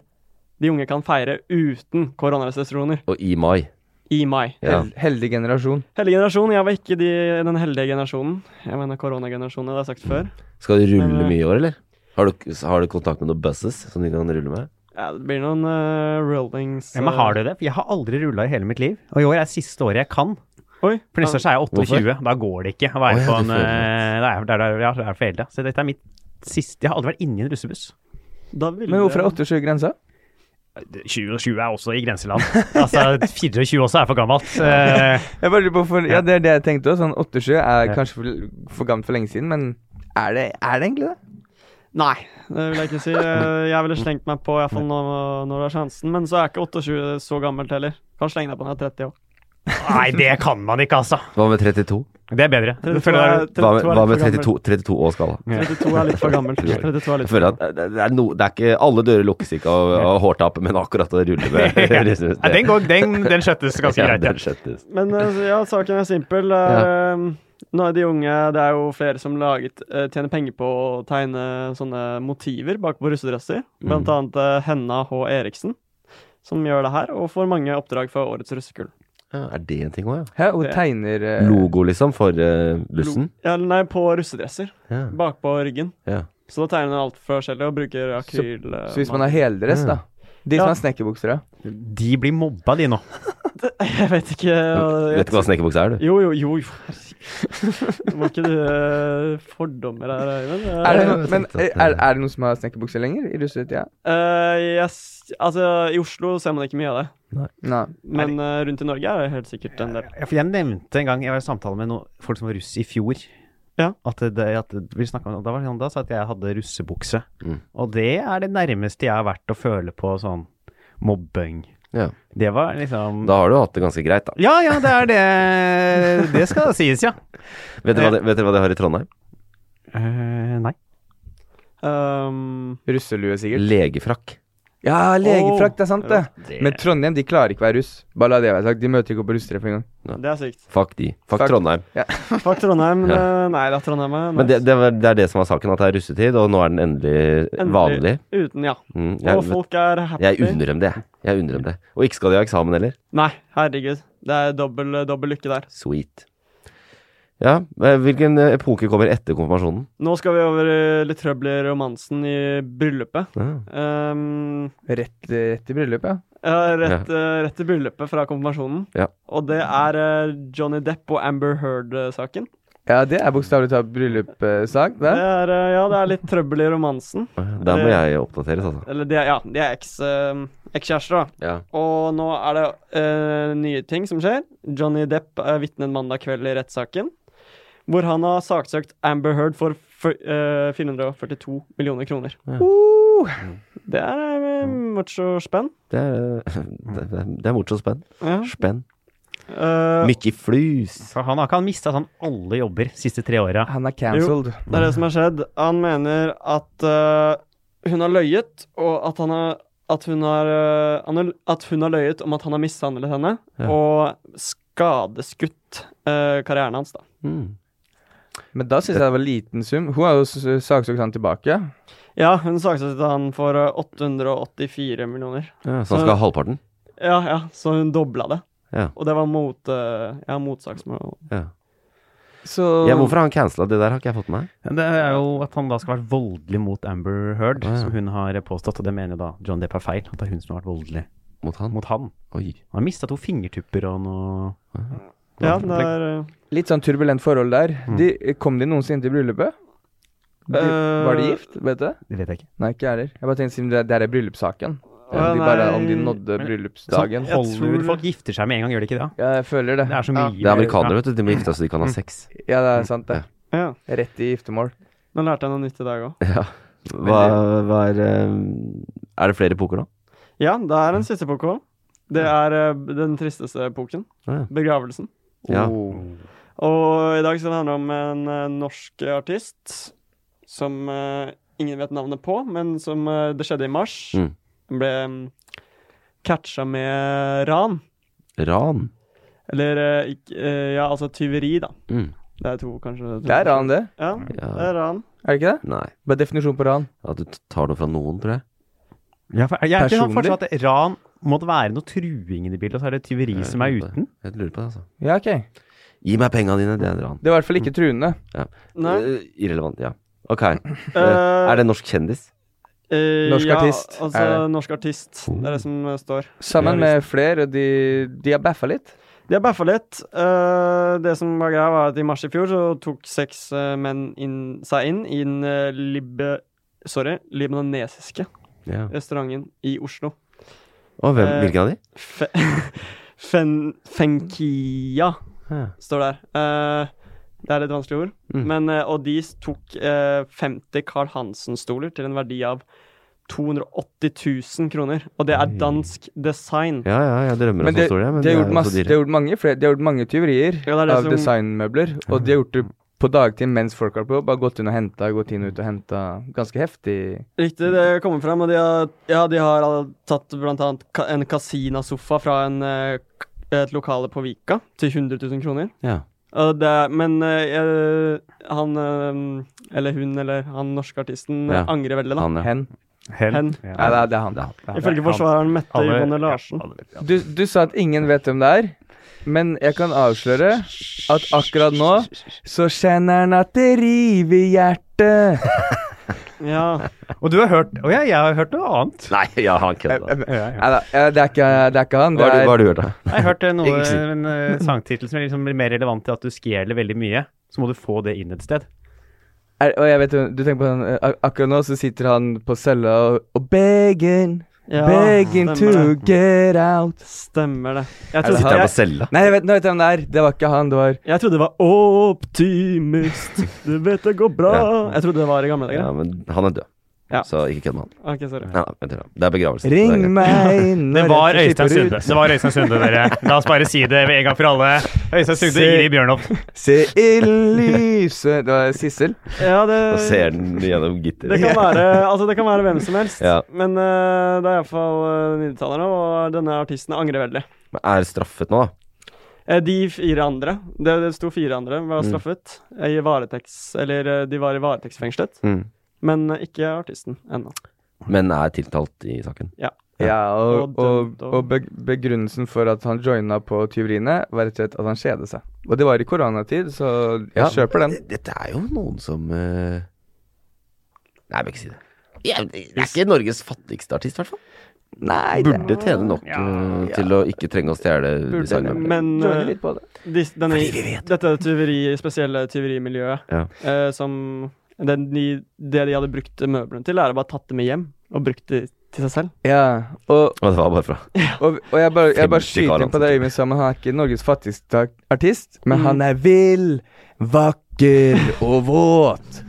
S8: de unge kan feire uten koronarestriksjoner.
S3: Og i mai.
S8: I mai.
S3: Ja.
S2: Hel- Heldig generasjon.
S8: Heldig generasjon. Jeg var ikke de, den heldige generasjonen. Jeg mener koronagenerasjonen, det har jeg sagt før.
S3: Skal du rulle
S8: Men, eh,
S3: mye i år, eller? Har du, har du kontakt med noen buses som du kan rulle med?
S8: Ja, det blir noen eh, rollings
S5: Ja, men har du det? For jeg har aldri rulla i hele mitt liv. Og i år er siste året jeg kan.
S8: Oi.
S5: For neste år så er jeg 28. Da går det ikke å
S3: Å,
S5: være
S3: ja, du
S5: på en
S3: får
S5: eh, Det er, det er, det er, det er for eldre. Så dette er mitt siste Jeg har aldri vært inni en russebuss.
S2: Men hvorfor er 28 grensa?
S5: 2020 er også i grenseland. Altså, 24 også er for gammelt. Eh,
S2: Jeg bare lurer på hvorfor- ja, det er det jeg tenkte også. Sånn 87 er
S5: Ja.
S2: kanskje for, for gammelt for lenge siden, men er det, er det egentlig det?
S8: Nei, det vil jeg ikke si. Eh, Jeg ville slengt meg på iallfall når, når du har sjansen. Men så er ikke 28 så gammelt heller. Kan slenge deg på når jeg er 30 år.
S5: nei, det kan man ikke, altså.
S3: Hva med 32?
S5: Det er bedre.
S8: 32
S5: Du føler
S8: er-
S5: deg-
S3: Hva med,
S8: 32 er litt
S3: hva med
S8: for
S3: 32, 32 og skala?
S8: 32 er litt for gammelt. 32 er
S3: Jeg
S8: litt
S3: føler at eh, det det er, no, det er ikke Alle dører lukkes ikke av, av hårtapp, men akkurat å rulle med russebuss,
S5: Nei, den, går, den, den skjøttes ganske
S3: Ja,
S5: greit.
S3: den
S5: Ja.
S3: skjøttes.
S8: Men eh, ja, saken er simpel. Det er, eh, Nå er de unge Det er jo flere som laget, eh, tjener penger på å tegne sånne motiver bak på russedresser. Blant
S3: Mm.
S8: annet eh, Henna H. Eriksen, som gjør det her, og får mange oppdrag fra årets russekull.
S3: Ja, er det en ting òg, ja?
S2: Hæ, og tegner eh,
S3: Logo, liksom, for eh, bussen?
S8: Ja, nei, på russedresser.
S3: Ja.
S8: Bakpå ryggen.
S3: ja.
S8: Så da tegner han alt forskjellig og bruker akryl. eh,
S2: Så hvis man har heldress, da. De som
S8: Ja.
S2: har snekkerbukser, da.
S5: De blir mobba, de nå.
S8: Jeg vet ikke
S5: eh,
S8: jeg-
S3: Vet ikke hva snekkerbukse er, du?
S8: Jo, jo, jo, jo. Må ikke du eh, fordommer her, Øyvind? Eh,
S2: Er det,
S3: Ja,
S2: no-
S3: jeg
S2: men
S3: tenkte
S2: eh,
S3: at,
S2: er, er det noen som har snekkerbukser lenger i russetida?
S8: eh, jeg s- altså, I Oslo ser man ikke mye av det.
S2: Nei.
S8: Men eh, rundt i Norge er det helt sikkert en del.
S5: Ja, for jeg nevnte en gang Jeg var i samtale med noen, folk som var russ i fjor.
S8: Ja.
S5: At det, at vi snakket om, da var det sånn da sa jeg at jeg hadde russebukse.
S3: Mm.
S5: Og det er det nærmeste jeg har vært å føle på sånn mobbing.
S3: Ja.
S5: Det var liksom
S3: Da har du hatt det ganske greit, da.
S5: Ja, ja, det er det Det skal sies, ja.
S3: Vet dere hva, det- vet dere hva de har i Trondheim?
S5: Eh, nei.
S8: Um,
S2: Russelue, sikkert.
S3: Legefrakk.
S2: Ja, legefrakt, det er sant, det.
S5: Det-
S2: Men Trondheim de klarer ikke å være russ. Bare la det være sagt. De møter ikke opp på russetreff engang.
S8: det er sykt.
S3: Fuck de. Fuck,
S2: Fuck.
S3: Trondheim.
S8: Fuck Trondheim. eh, Nei da, Trondheim er
S3: Men det, det, var- det er det som er saken, at det er russetid, og nå er den endelig,
S8: Endelig.
S3: vanlig.
S8: Uten, ja.
S3: Mm,
S8: Og
S3: jeg,
S8: folk er happy.
S3: jeg unner dem det, jeg. jeg. unner dem det. Og ikke skal de ha eksamen heller.
S8: Nei, herregud. Det er dobbel, eh, dobbel lykke der.
S3: Sweet. Ja, eh, hvilken eh, epoke kommer etter konfirmasjonen?
S8: Nå skal vi over eh, litt trøbbel i romansen i bryllupet.
S3: Ja.
S8: Um,
S2: Rett, rett i bryllupet, ja.
S8: Ja, rett, eh, rett til bryllupet fra konfirmasjonen.
S3: Ja.
S8: Og det er eh, Johnny Depp og Amber Heard-saken.
S2: Ja, det er bokstavelig talt bryllupssak.
S8: Det
S2: Det.
S8: er, eh, ja, det er litt trøbbel i romansen.
S3: Der må jeg oppdateres, altså.
S8: Eller de er, ja, de er eks, eh, ekskjærester, da.
S3: Ja.
S8: Og nå er det eh, nye ting som skjer. Johnny Depp er vitne en mandag kveld i rettssaken. Hvor han har saksøkt Amber Heard for fyr- eh, 442 millioner kroner. Det er uh, macho spenn.
S3: Det er, eh, det, det- det er morsomt spenn.
S8: Ja.
S3: Spenn.
S8: Eh,
S3: Mykje flus.
S5: For han har ikke han mista sånn alle jobber siste tre åra.
S2: Han er cancelled.
S8: Det er det som har skjedd. Han mener at eh, hun har løyet, og at, han har, at, hun har, eh, han har, at hun har løyet om at han har mishandlet henne,
S3: Ja.
S8: og skadeskutt eh, karrieren hans, da.
S3: Mm.
S2: Men da syns jeg det var liten sum. Hun har jo s- saksøkt han tilbake.
S8: Ja, hun saksøkte han for eh, 884 millioner.
S3: Ja, så han skal ha halvparten?
S8: Ja, ja, så hun dobla det.
S3: Ja.
S8: Og det var mot, eh, ja, motsaksmål.
S3: ja.
S2: Så
S3: ja hvorfor har han cancela? Det der har ikke jeg fått med meg.
S5: Det er jo at han da skal ha vært voldelig mot Amber Heard,
S3: Ah, ja.
S5: som hun har påstått. Og det mener jo da John Depp er feil. At det er hun som har vært voldelig
S3: Mot han?
S5: mot han.
S3: Oi.
S5: Han har mista to fingertupper og noe
S8: Ja, det er eh,
S2: Litt sånn turbulent forhold der.
S8: Mm.
S2: De, kom de noensinne til bryllupet? De,
S8: Eh,
S2: var de gift? Vet du?
S5: Det vet jeg ikke.
S2: Nei, ikke jeg heller. Jeg bare tenkte siden det, det er bryllupssaken. Om
S8: Å,
S2: de bare om de
S8: nei. Sånn,
S2: nådde
S5: Men-
S2: bryllupsdagen.
S8: Jeg tror-
S5: Hollywood-folk gifter seg med en gang, gjør de ikke det?
S2: Ja, jeg føler det.
S5: Sånn, Det er så mye
S3: Det er amerikanere, vet du. De må gifte seg så de kan ha sex.
S2: Ja, det er sant, det.
S8: Ja.
S2: Rett i giftermål.
S8: Nå lærte jeg noe nytt i dag òg.
S3: Ja. Hva, hva er eh, Er det flere epoker nå?
S8: Ja, det er en siste poko. Det er eh, den tristeste epoken.
S3: Ja.
S8: Begravelsen.
S3: Ja.
S2: Oh.
S8: Og i dag skal det handle om en eh, norsk artist som eh, ingen vet navnet på, men som eh, det skjedde i mars.
S3: Mm.
S8: Den ble mm, catcha med ran.
S3: Ran?
S8: Eller eh, ikk- eh, ja, altså tyveri, da.
S3: Mm.
S8: Det er to, kanskje.
S2: Det er ran, det.
S8: Ja, det er ran.
S2: Er det ikke det?
S3: Nei.
S2: Hva er definisjonen på ran?
S3: At du t- tar noe fra noen, tror jeg.
S5: Ja, for, jeg er ikke sånn
S2: Personlig?
S5: fortsatt at ran måtte være noe truing i det bildet, og så er det tyveri som er uten.
S3: Jeg lurer på det, altså.
S2: Ja, ok.
S3: Gi meg penga dine, det er et ran.
S2: Det er i hvert fall ikke truende.
S3: Ja.
S8: Nei.
S3: Eh, Irrelevant, ja. Ok. Eh, er det norsk kjendis?
S8: Eh,
S2: Norsk
S8: ja,
S2: artist,
S8: Altså,
S2: er det.
S8: norsk artist. Det er det som eh, står.
S2: Sammen med flere, de, de har baffa litt.
S8: De har baffa litt. Eh, det som var greia, var at i mars i fjor så tok seks eh, menn inn, seg inn i den eh, libe... Sorry, libanesiske
S3: Ja.
S8: restauranten i Oslo.
S3: Og hvem,
S8: Eh,
S3: hvilken av de?
S8: Fe fen Fenkia
S3: Ja.
S8: står der. Eh, det er litt vanskelig ord.
S3: Mm.
S8: Men, eh, og de tok eh, 50 Carl Hansen-stoler til en verdi av 280 000 kroner. Og det er dansk design.
S3: Ja, ja, jeg drømmer
S2: Men
S3: om
S2: de,
S3: sånn story, men
S2: de, har
S3: det er
S2: gjort
S3: jo så
S2: masse, de
S3: dyre.
S2: har gjort mange, flere, de har gjort mange tyverier
S8: Ja, det er det
S2: av
S8: som-
S2: designmøbler. Og de har gjort det på dagtid mens folk har vært på jobb. Har gått inn og henta, gått inn og ut og henta. Ganske heftig.
S8: Riktig, det kommer frem. Og de har, ja, de har all- tatt blant annet ka- en kasinasofa fra en, eh, k- et lokale på Vika til 100 000 kroner.
S3: Ja.
S8: Og det, er- men eh, jeg- han eh, eller hun eller han norske artisten eh,
S3: Ja.
S8: angrer veldig, da.
S3: Han, ja.
S2: Hen.
S5: Hen.
S8: Hen.
S5: Ja.
S2: Nei, det er, det er han.
S8: Ifølge forsvareren Mette
S5: Alle-
S8: Yvonne Larsen.
S5: Ja, alle vet, ja.
S2: Du, du sa at ingen vet hvem det er, men jeg kan avsløre at akkurat nå så kjenner han at det river i hjertet.
S8: Ja.
S5: Og du har hørt Og jeg, jeg har hørt noe annet.
S3: Nei, ja, han kødda.
S2: Nei
S5: Ja, ja.
S2: da, eh, det er ikke, det er ikke han.
S3: Hva
S2: Det
S3: har du- hva
S2: er
S3: har du hørt, da?
S5: Jeg har hørt eh, noe,
S3: Ikke si.
S5: en eh, sangtittel som er liksom mer relevant til at du stjeler veldig mye. Så må du få det inn et sted.
S2: er, og jeg vet, jo- du tenker på den, eh, ak- Akkurat nå så sitter han på cella og, og begging,
S8: Ja,
S2: begging to
S8: stemmer det.
S2: get out.
S8: Stemmer det. Jeg
S2: Er det
S8: trodde,
S3: Sitter han på
S2: han?
S8: jeg,
S3: cella?
S2: Nei, jeg vet, nå vet jeg hvem det er. Det var ikke han, det var
S8: jeg trodde det var optimist, du vet det går bra. Jeg trodde det var i gamle dager.
S3: Ja, men han er død.
S8: Ja.
S3: Så ikke kødd med han.
S8: Ok, sorry.
S3: Nei, nei, vent litt, da. det er begravelse. så det er
S2: Ring
S3: greit.
S2: meg når
S5: Det var
S2: jeg slipper
S5: Øystein Sunde.
S2: ut.
S5: Det var Øystein Sunde, dere. La oss bare si det en gang for alle. Øystein Sunde,
S2: Se-
S5: Ingrid Bjørnhoff.
S2: Se i lyset Det var Sissel.
S8: Ja,
S3: Da
S8: det,
S3: ser den gjennom gitteret.
S8: Det kan være, altså det kan være hvem som helst,
S3: Ja.
S8: men eh, det er iallfall uh, 90-tallerne, og denne artisten angrer veldig.
S3: Men Er det straffet nå, da?
S8: Eh, de fire andre, det, det sto fire andre,
S3: Mm.
S8: var straffet. eh, I varetekts, eller eh, de var i varetektsfengslet,
S3: Mm.
S8: men eh, ikke artisten ennå.
S3: Men er tiltalt i saken.
S2: Ja, og,
S8: Og
S2: og,
S8: dømt og-
S2: og beg- begrunnelsen for at han joina på tyveriene, var rett og slett at han kjedet seg. Og det var i koronatid, så jeg kjøper den.
S3: D- Dette er jo noen som eh, Nei, jeg vil ikke si det. Ja, det er ikke Norges fattigste artist, i hvert fall. Nei, Burde tjene nok eh, til å ikke trenge å stjele designmøbler.
S8: Men
S2: Joiner
S8: eh,
S2: litt på det.
S8: dis, denne, dette tyveri, spesielle tyverimiljøet,
S3: Ja.
S8: eh, som den, de, det de hadde brukt møblene til, er å bare tatt det med hjem, og brukt det til seg selv.
S2: Ja, og,
S3: Og det var bare fra
S2: og, og jeg bare, jeg bare
S3: 50
S2: skyter inn på det
S3: karer,
S2: øyet sammen. Han er ikke Norges fattigste artist, men han er vill, vakker og våt.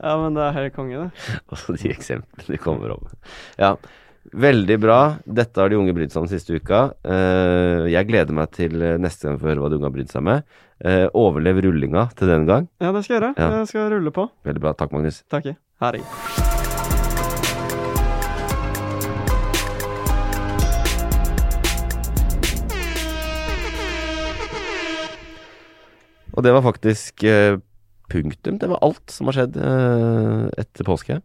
S8: Ja, men det er helt konge, det.
S3: altså, de eksemplene de kommer om. Ja, veldig bra. Dette har de unge brydd seg om siste uka. Eh, jeg gleder meg til eh, neste gang vi får høre hva de unge har brydd seg med. Eh, overlev rullinga til den gang.
S8: Ja, det skal jeg gjøre.
S3: Ja.
S8: Jeg skal rulle på.
S3: Veldig bra. Takk, Magnus.
S8: Takk. Herregud.
S3: Og det var faktisk eh, punktum. Det var alt som har skjedd eh, etter påske.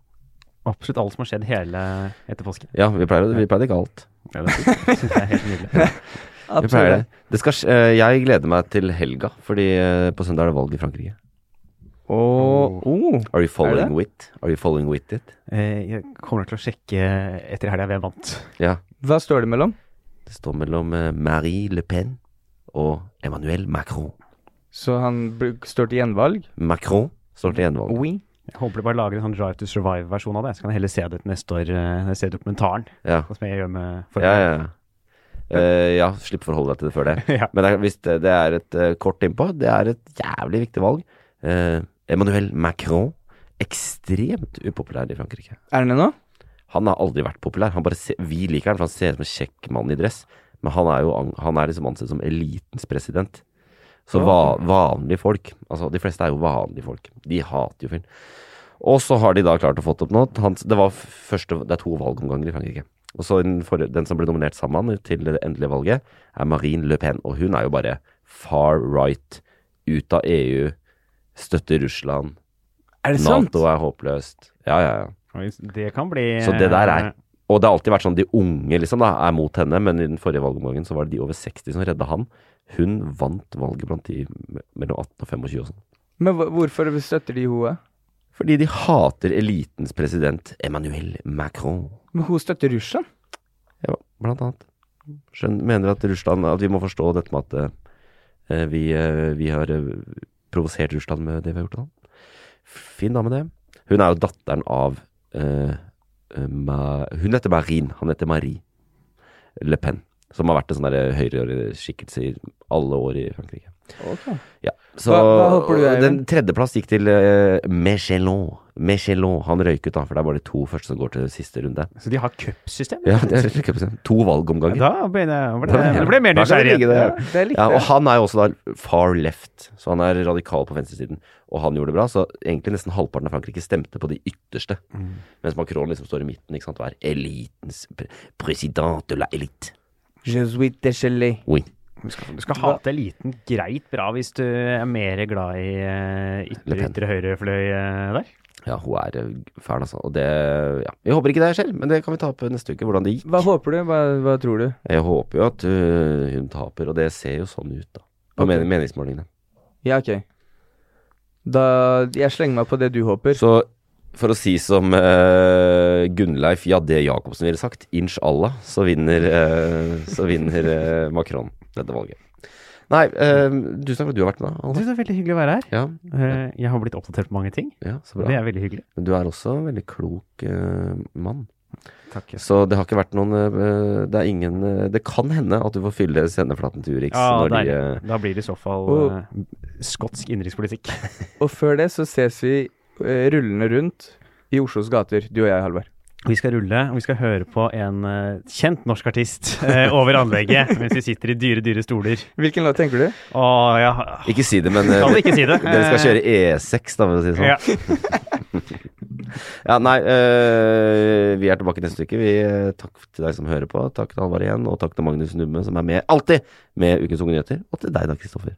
S5: Absolutt alt som har skjedd hele etter påske.
S3: Ja, vi pleier det. Vi pleier det ikke alt.
S5: Ja, det synes jeg er helt nydelig.
S3: Vi pleier det. det skal, sk- eh, jeg gleder meg til helga, fordi eh, på søndag er det valg i Frankrike.
S2: Og oh,
S3: Are you
S2: Er
S3: following
S2: det?
S3: with? Are you following with it?
S5: Eh, Jeg kommer til å sjekke etter helga hvem vant.
S3: Ja.
S2: Hva står det mellom?
S3: Det står mellom eh, Marie Le Pen og Emmanuel Macron.
S2: Så han br- står til gjenvalg?
S3: Macron står til gjenvalg.
S2: Oui.
S5: Jeg håper de bare lager en sånn Drive to Survive-versjon av det. Så kan jeg heller se det til neste år, eh, når jeg ser dokumentaren.
S3: Ja.
S5: Sånn som jeg gjør med
S3: Ja, ja, ja. Eh, ja, slipp forholde deg til det før det.
S5: Ja.
S3: Men det, er- hvis det, det er et eh, kort innpå, det er et jævlig viktig valg. Eh, Emmanuel Macron, ekstremt upopulær i Frankrike.
S2: Er han det nå?
S3: Han har aldri vært populær. Han bare ser, vi liker han, for han ser ut som en kjekk mann i dress. Men han er jo an- han er liksom ansett som elitens president. Så va, vanlige folk Altså, de fleste er jo vanlige folk. De hater jo fyren. Og så har de da klart å fått opp noe. Han, det, var f- første, det er to valgomganger i Frankrike. Og så den, forrige- den som ble nominert sammen med han til det endelige valget, er Marine Le Pen. Og hun er jo bare far right, ut av EU, støtter Russland.
S5: Er det sant?
S3: Nato er håpløst. Ja, ja, ja.
S5: Det kan bli eh,
S3: Så det der er Og det har alltid vært sånn de unge liksom da, er mot henne, men i den forrige valgomgangen så var det de over 60 som redda han. Hun vant valget blant de me- mellom 18 og 25 og sånn.
S2: Men hva- hvorfor støtter de henne?
S3: Fordi de hater elitens president Emmanuel Macron.
S2: Men hun støtter Russland?
S3: Ja, blant annet. Skjønn, mener at Russland At vi må forstå dette med at eh, vi, eh, vi har eh, provosert Russland med det vi har gjort til ham. Fin dame, det. Hun er jo datteren av eh, eh, Ma, Hun heter Marine. Han heter Marie Le Pen. Som har vært en sånn der høyreskikkelse i alle år i Frankrike.
S2: Ok.
S3: Ja, så
S2: Hva- hva håper du, Eivind?
S3: Den tredjeplass gikk til uh, Michelon. Michelon. Han røyk ut, da, for det er bare de to første som går til siste runde.
S5: Så de har cupsystem?
S3: Ja, det er rett og slett cupsystem. To valgomganger.
S5: Da ble jeg ble,
S3: Da
S5: jeg ble mer
S3: Da kan vi
S5: nysgjerrig.
S3: legge det.
S2: det likte
S3: Ja, og
S2: jeg.
S3: han er jo også da far left, så han er radikal på venstresiden. Og han gjorde det bra, så egentlig nesten halvparten av Frankrike stemte på de ytterste.
S5: Mm.
S3: Mens Macron liksom står i midten ikke sant, og er elitens pre president de la elite.
S2: Je suis déchelé.
S3: Oui.
S5: Du skal, du skal hate eliten greit bra hvis du er mer glad i eh,
S3: Le
S5: ytre,
S3: Pen.
S5: ytre høyrefløy eh, der.
S3: Ja, hun er eh, fæl, altså. Og det Ja. Jeg håper ikke det skjer, men det kan vi ta opp neste uke, hvordan det gikk.
S2: Hva håper du? Hva, hva tror du?
S3: Jeg håper jo at øh, hun taper, og det ser jo sånn ut, da. På
S2: Ok.
S3: men- meningsmålingene.
S2: Ja, ok. Da Jeg slenger meg på det du håper.
S3: Så for å si som eh, Gunnleif Jadé Jacobsen ville sagt, inshallah, så vinner, eh, så vinner eh, Macron dette valget. Nei, eh, tusen takk for at du har vært med.
S5: Du,
S3: Alvar.
S5: det er veldig hyggelig å være her.
S3: Ja,
S5: Eh, jeg har blitt oppdatert på mange ting.
S3: ja, så
S5: Det
S3: bra.
S5: er veldig hyggelig.
S3: Men du er også en veldig klok eh, mann.
S5: Takk.
S3: Så det har ikke vært noen eh, Det er ingen eh, Det kan hende at du får fylle sendeflaten til Urix.
S5: Ja,
S3: når de,
S5: deilig.
S3: eh,
S5: Da blir det i så fall
S2: Og-
S5: eh, skotsk innenrikspolitikk.
S2: Og før det så ses vi eh, rullende rundt i Oslos gater, du og jeg, Halvard.
S5: Vi skal rulle, og vi skal høre på en eh, kjent norsk artist eh, over anlegget mens vi sitter i dyre, dyre stoler.
S2: Hvilken låt tenker du?
S5: Å, ja.
S3: ikke si det, men eh,
S5: Kan ikke si det. Eh,
S3: dere skal kjøre E6, da, for å si det sånn.
S5: Ja.
S3: Ja, nei, øh, vi er tilbake neste uke. Vi, øh, takk til deg som hører på. Takk til Halvard igjen, og takk til Magnus Numme, som er med alltid med Ukens unge nyheter. Og til deg da, Kristoffer.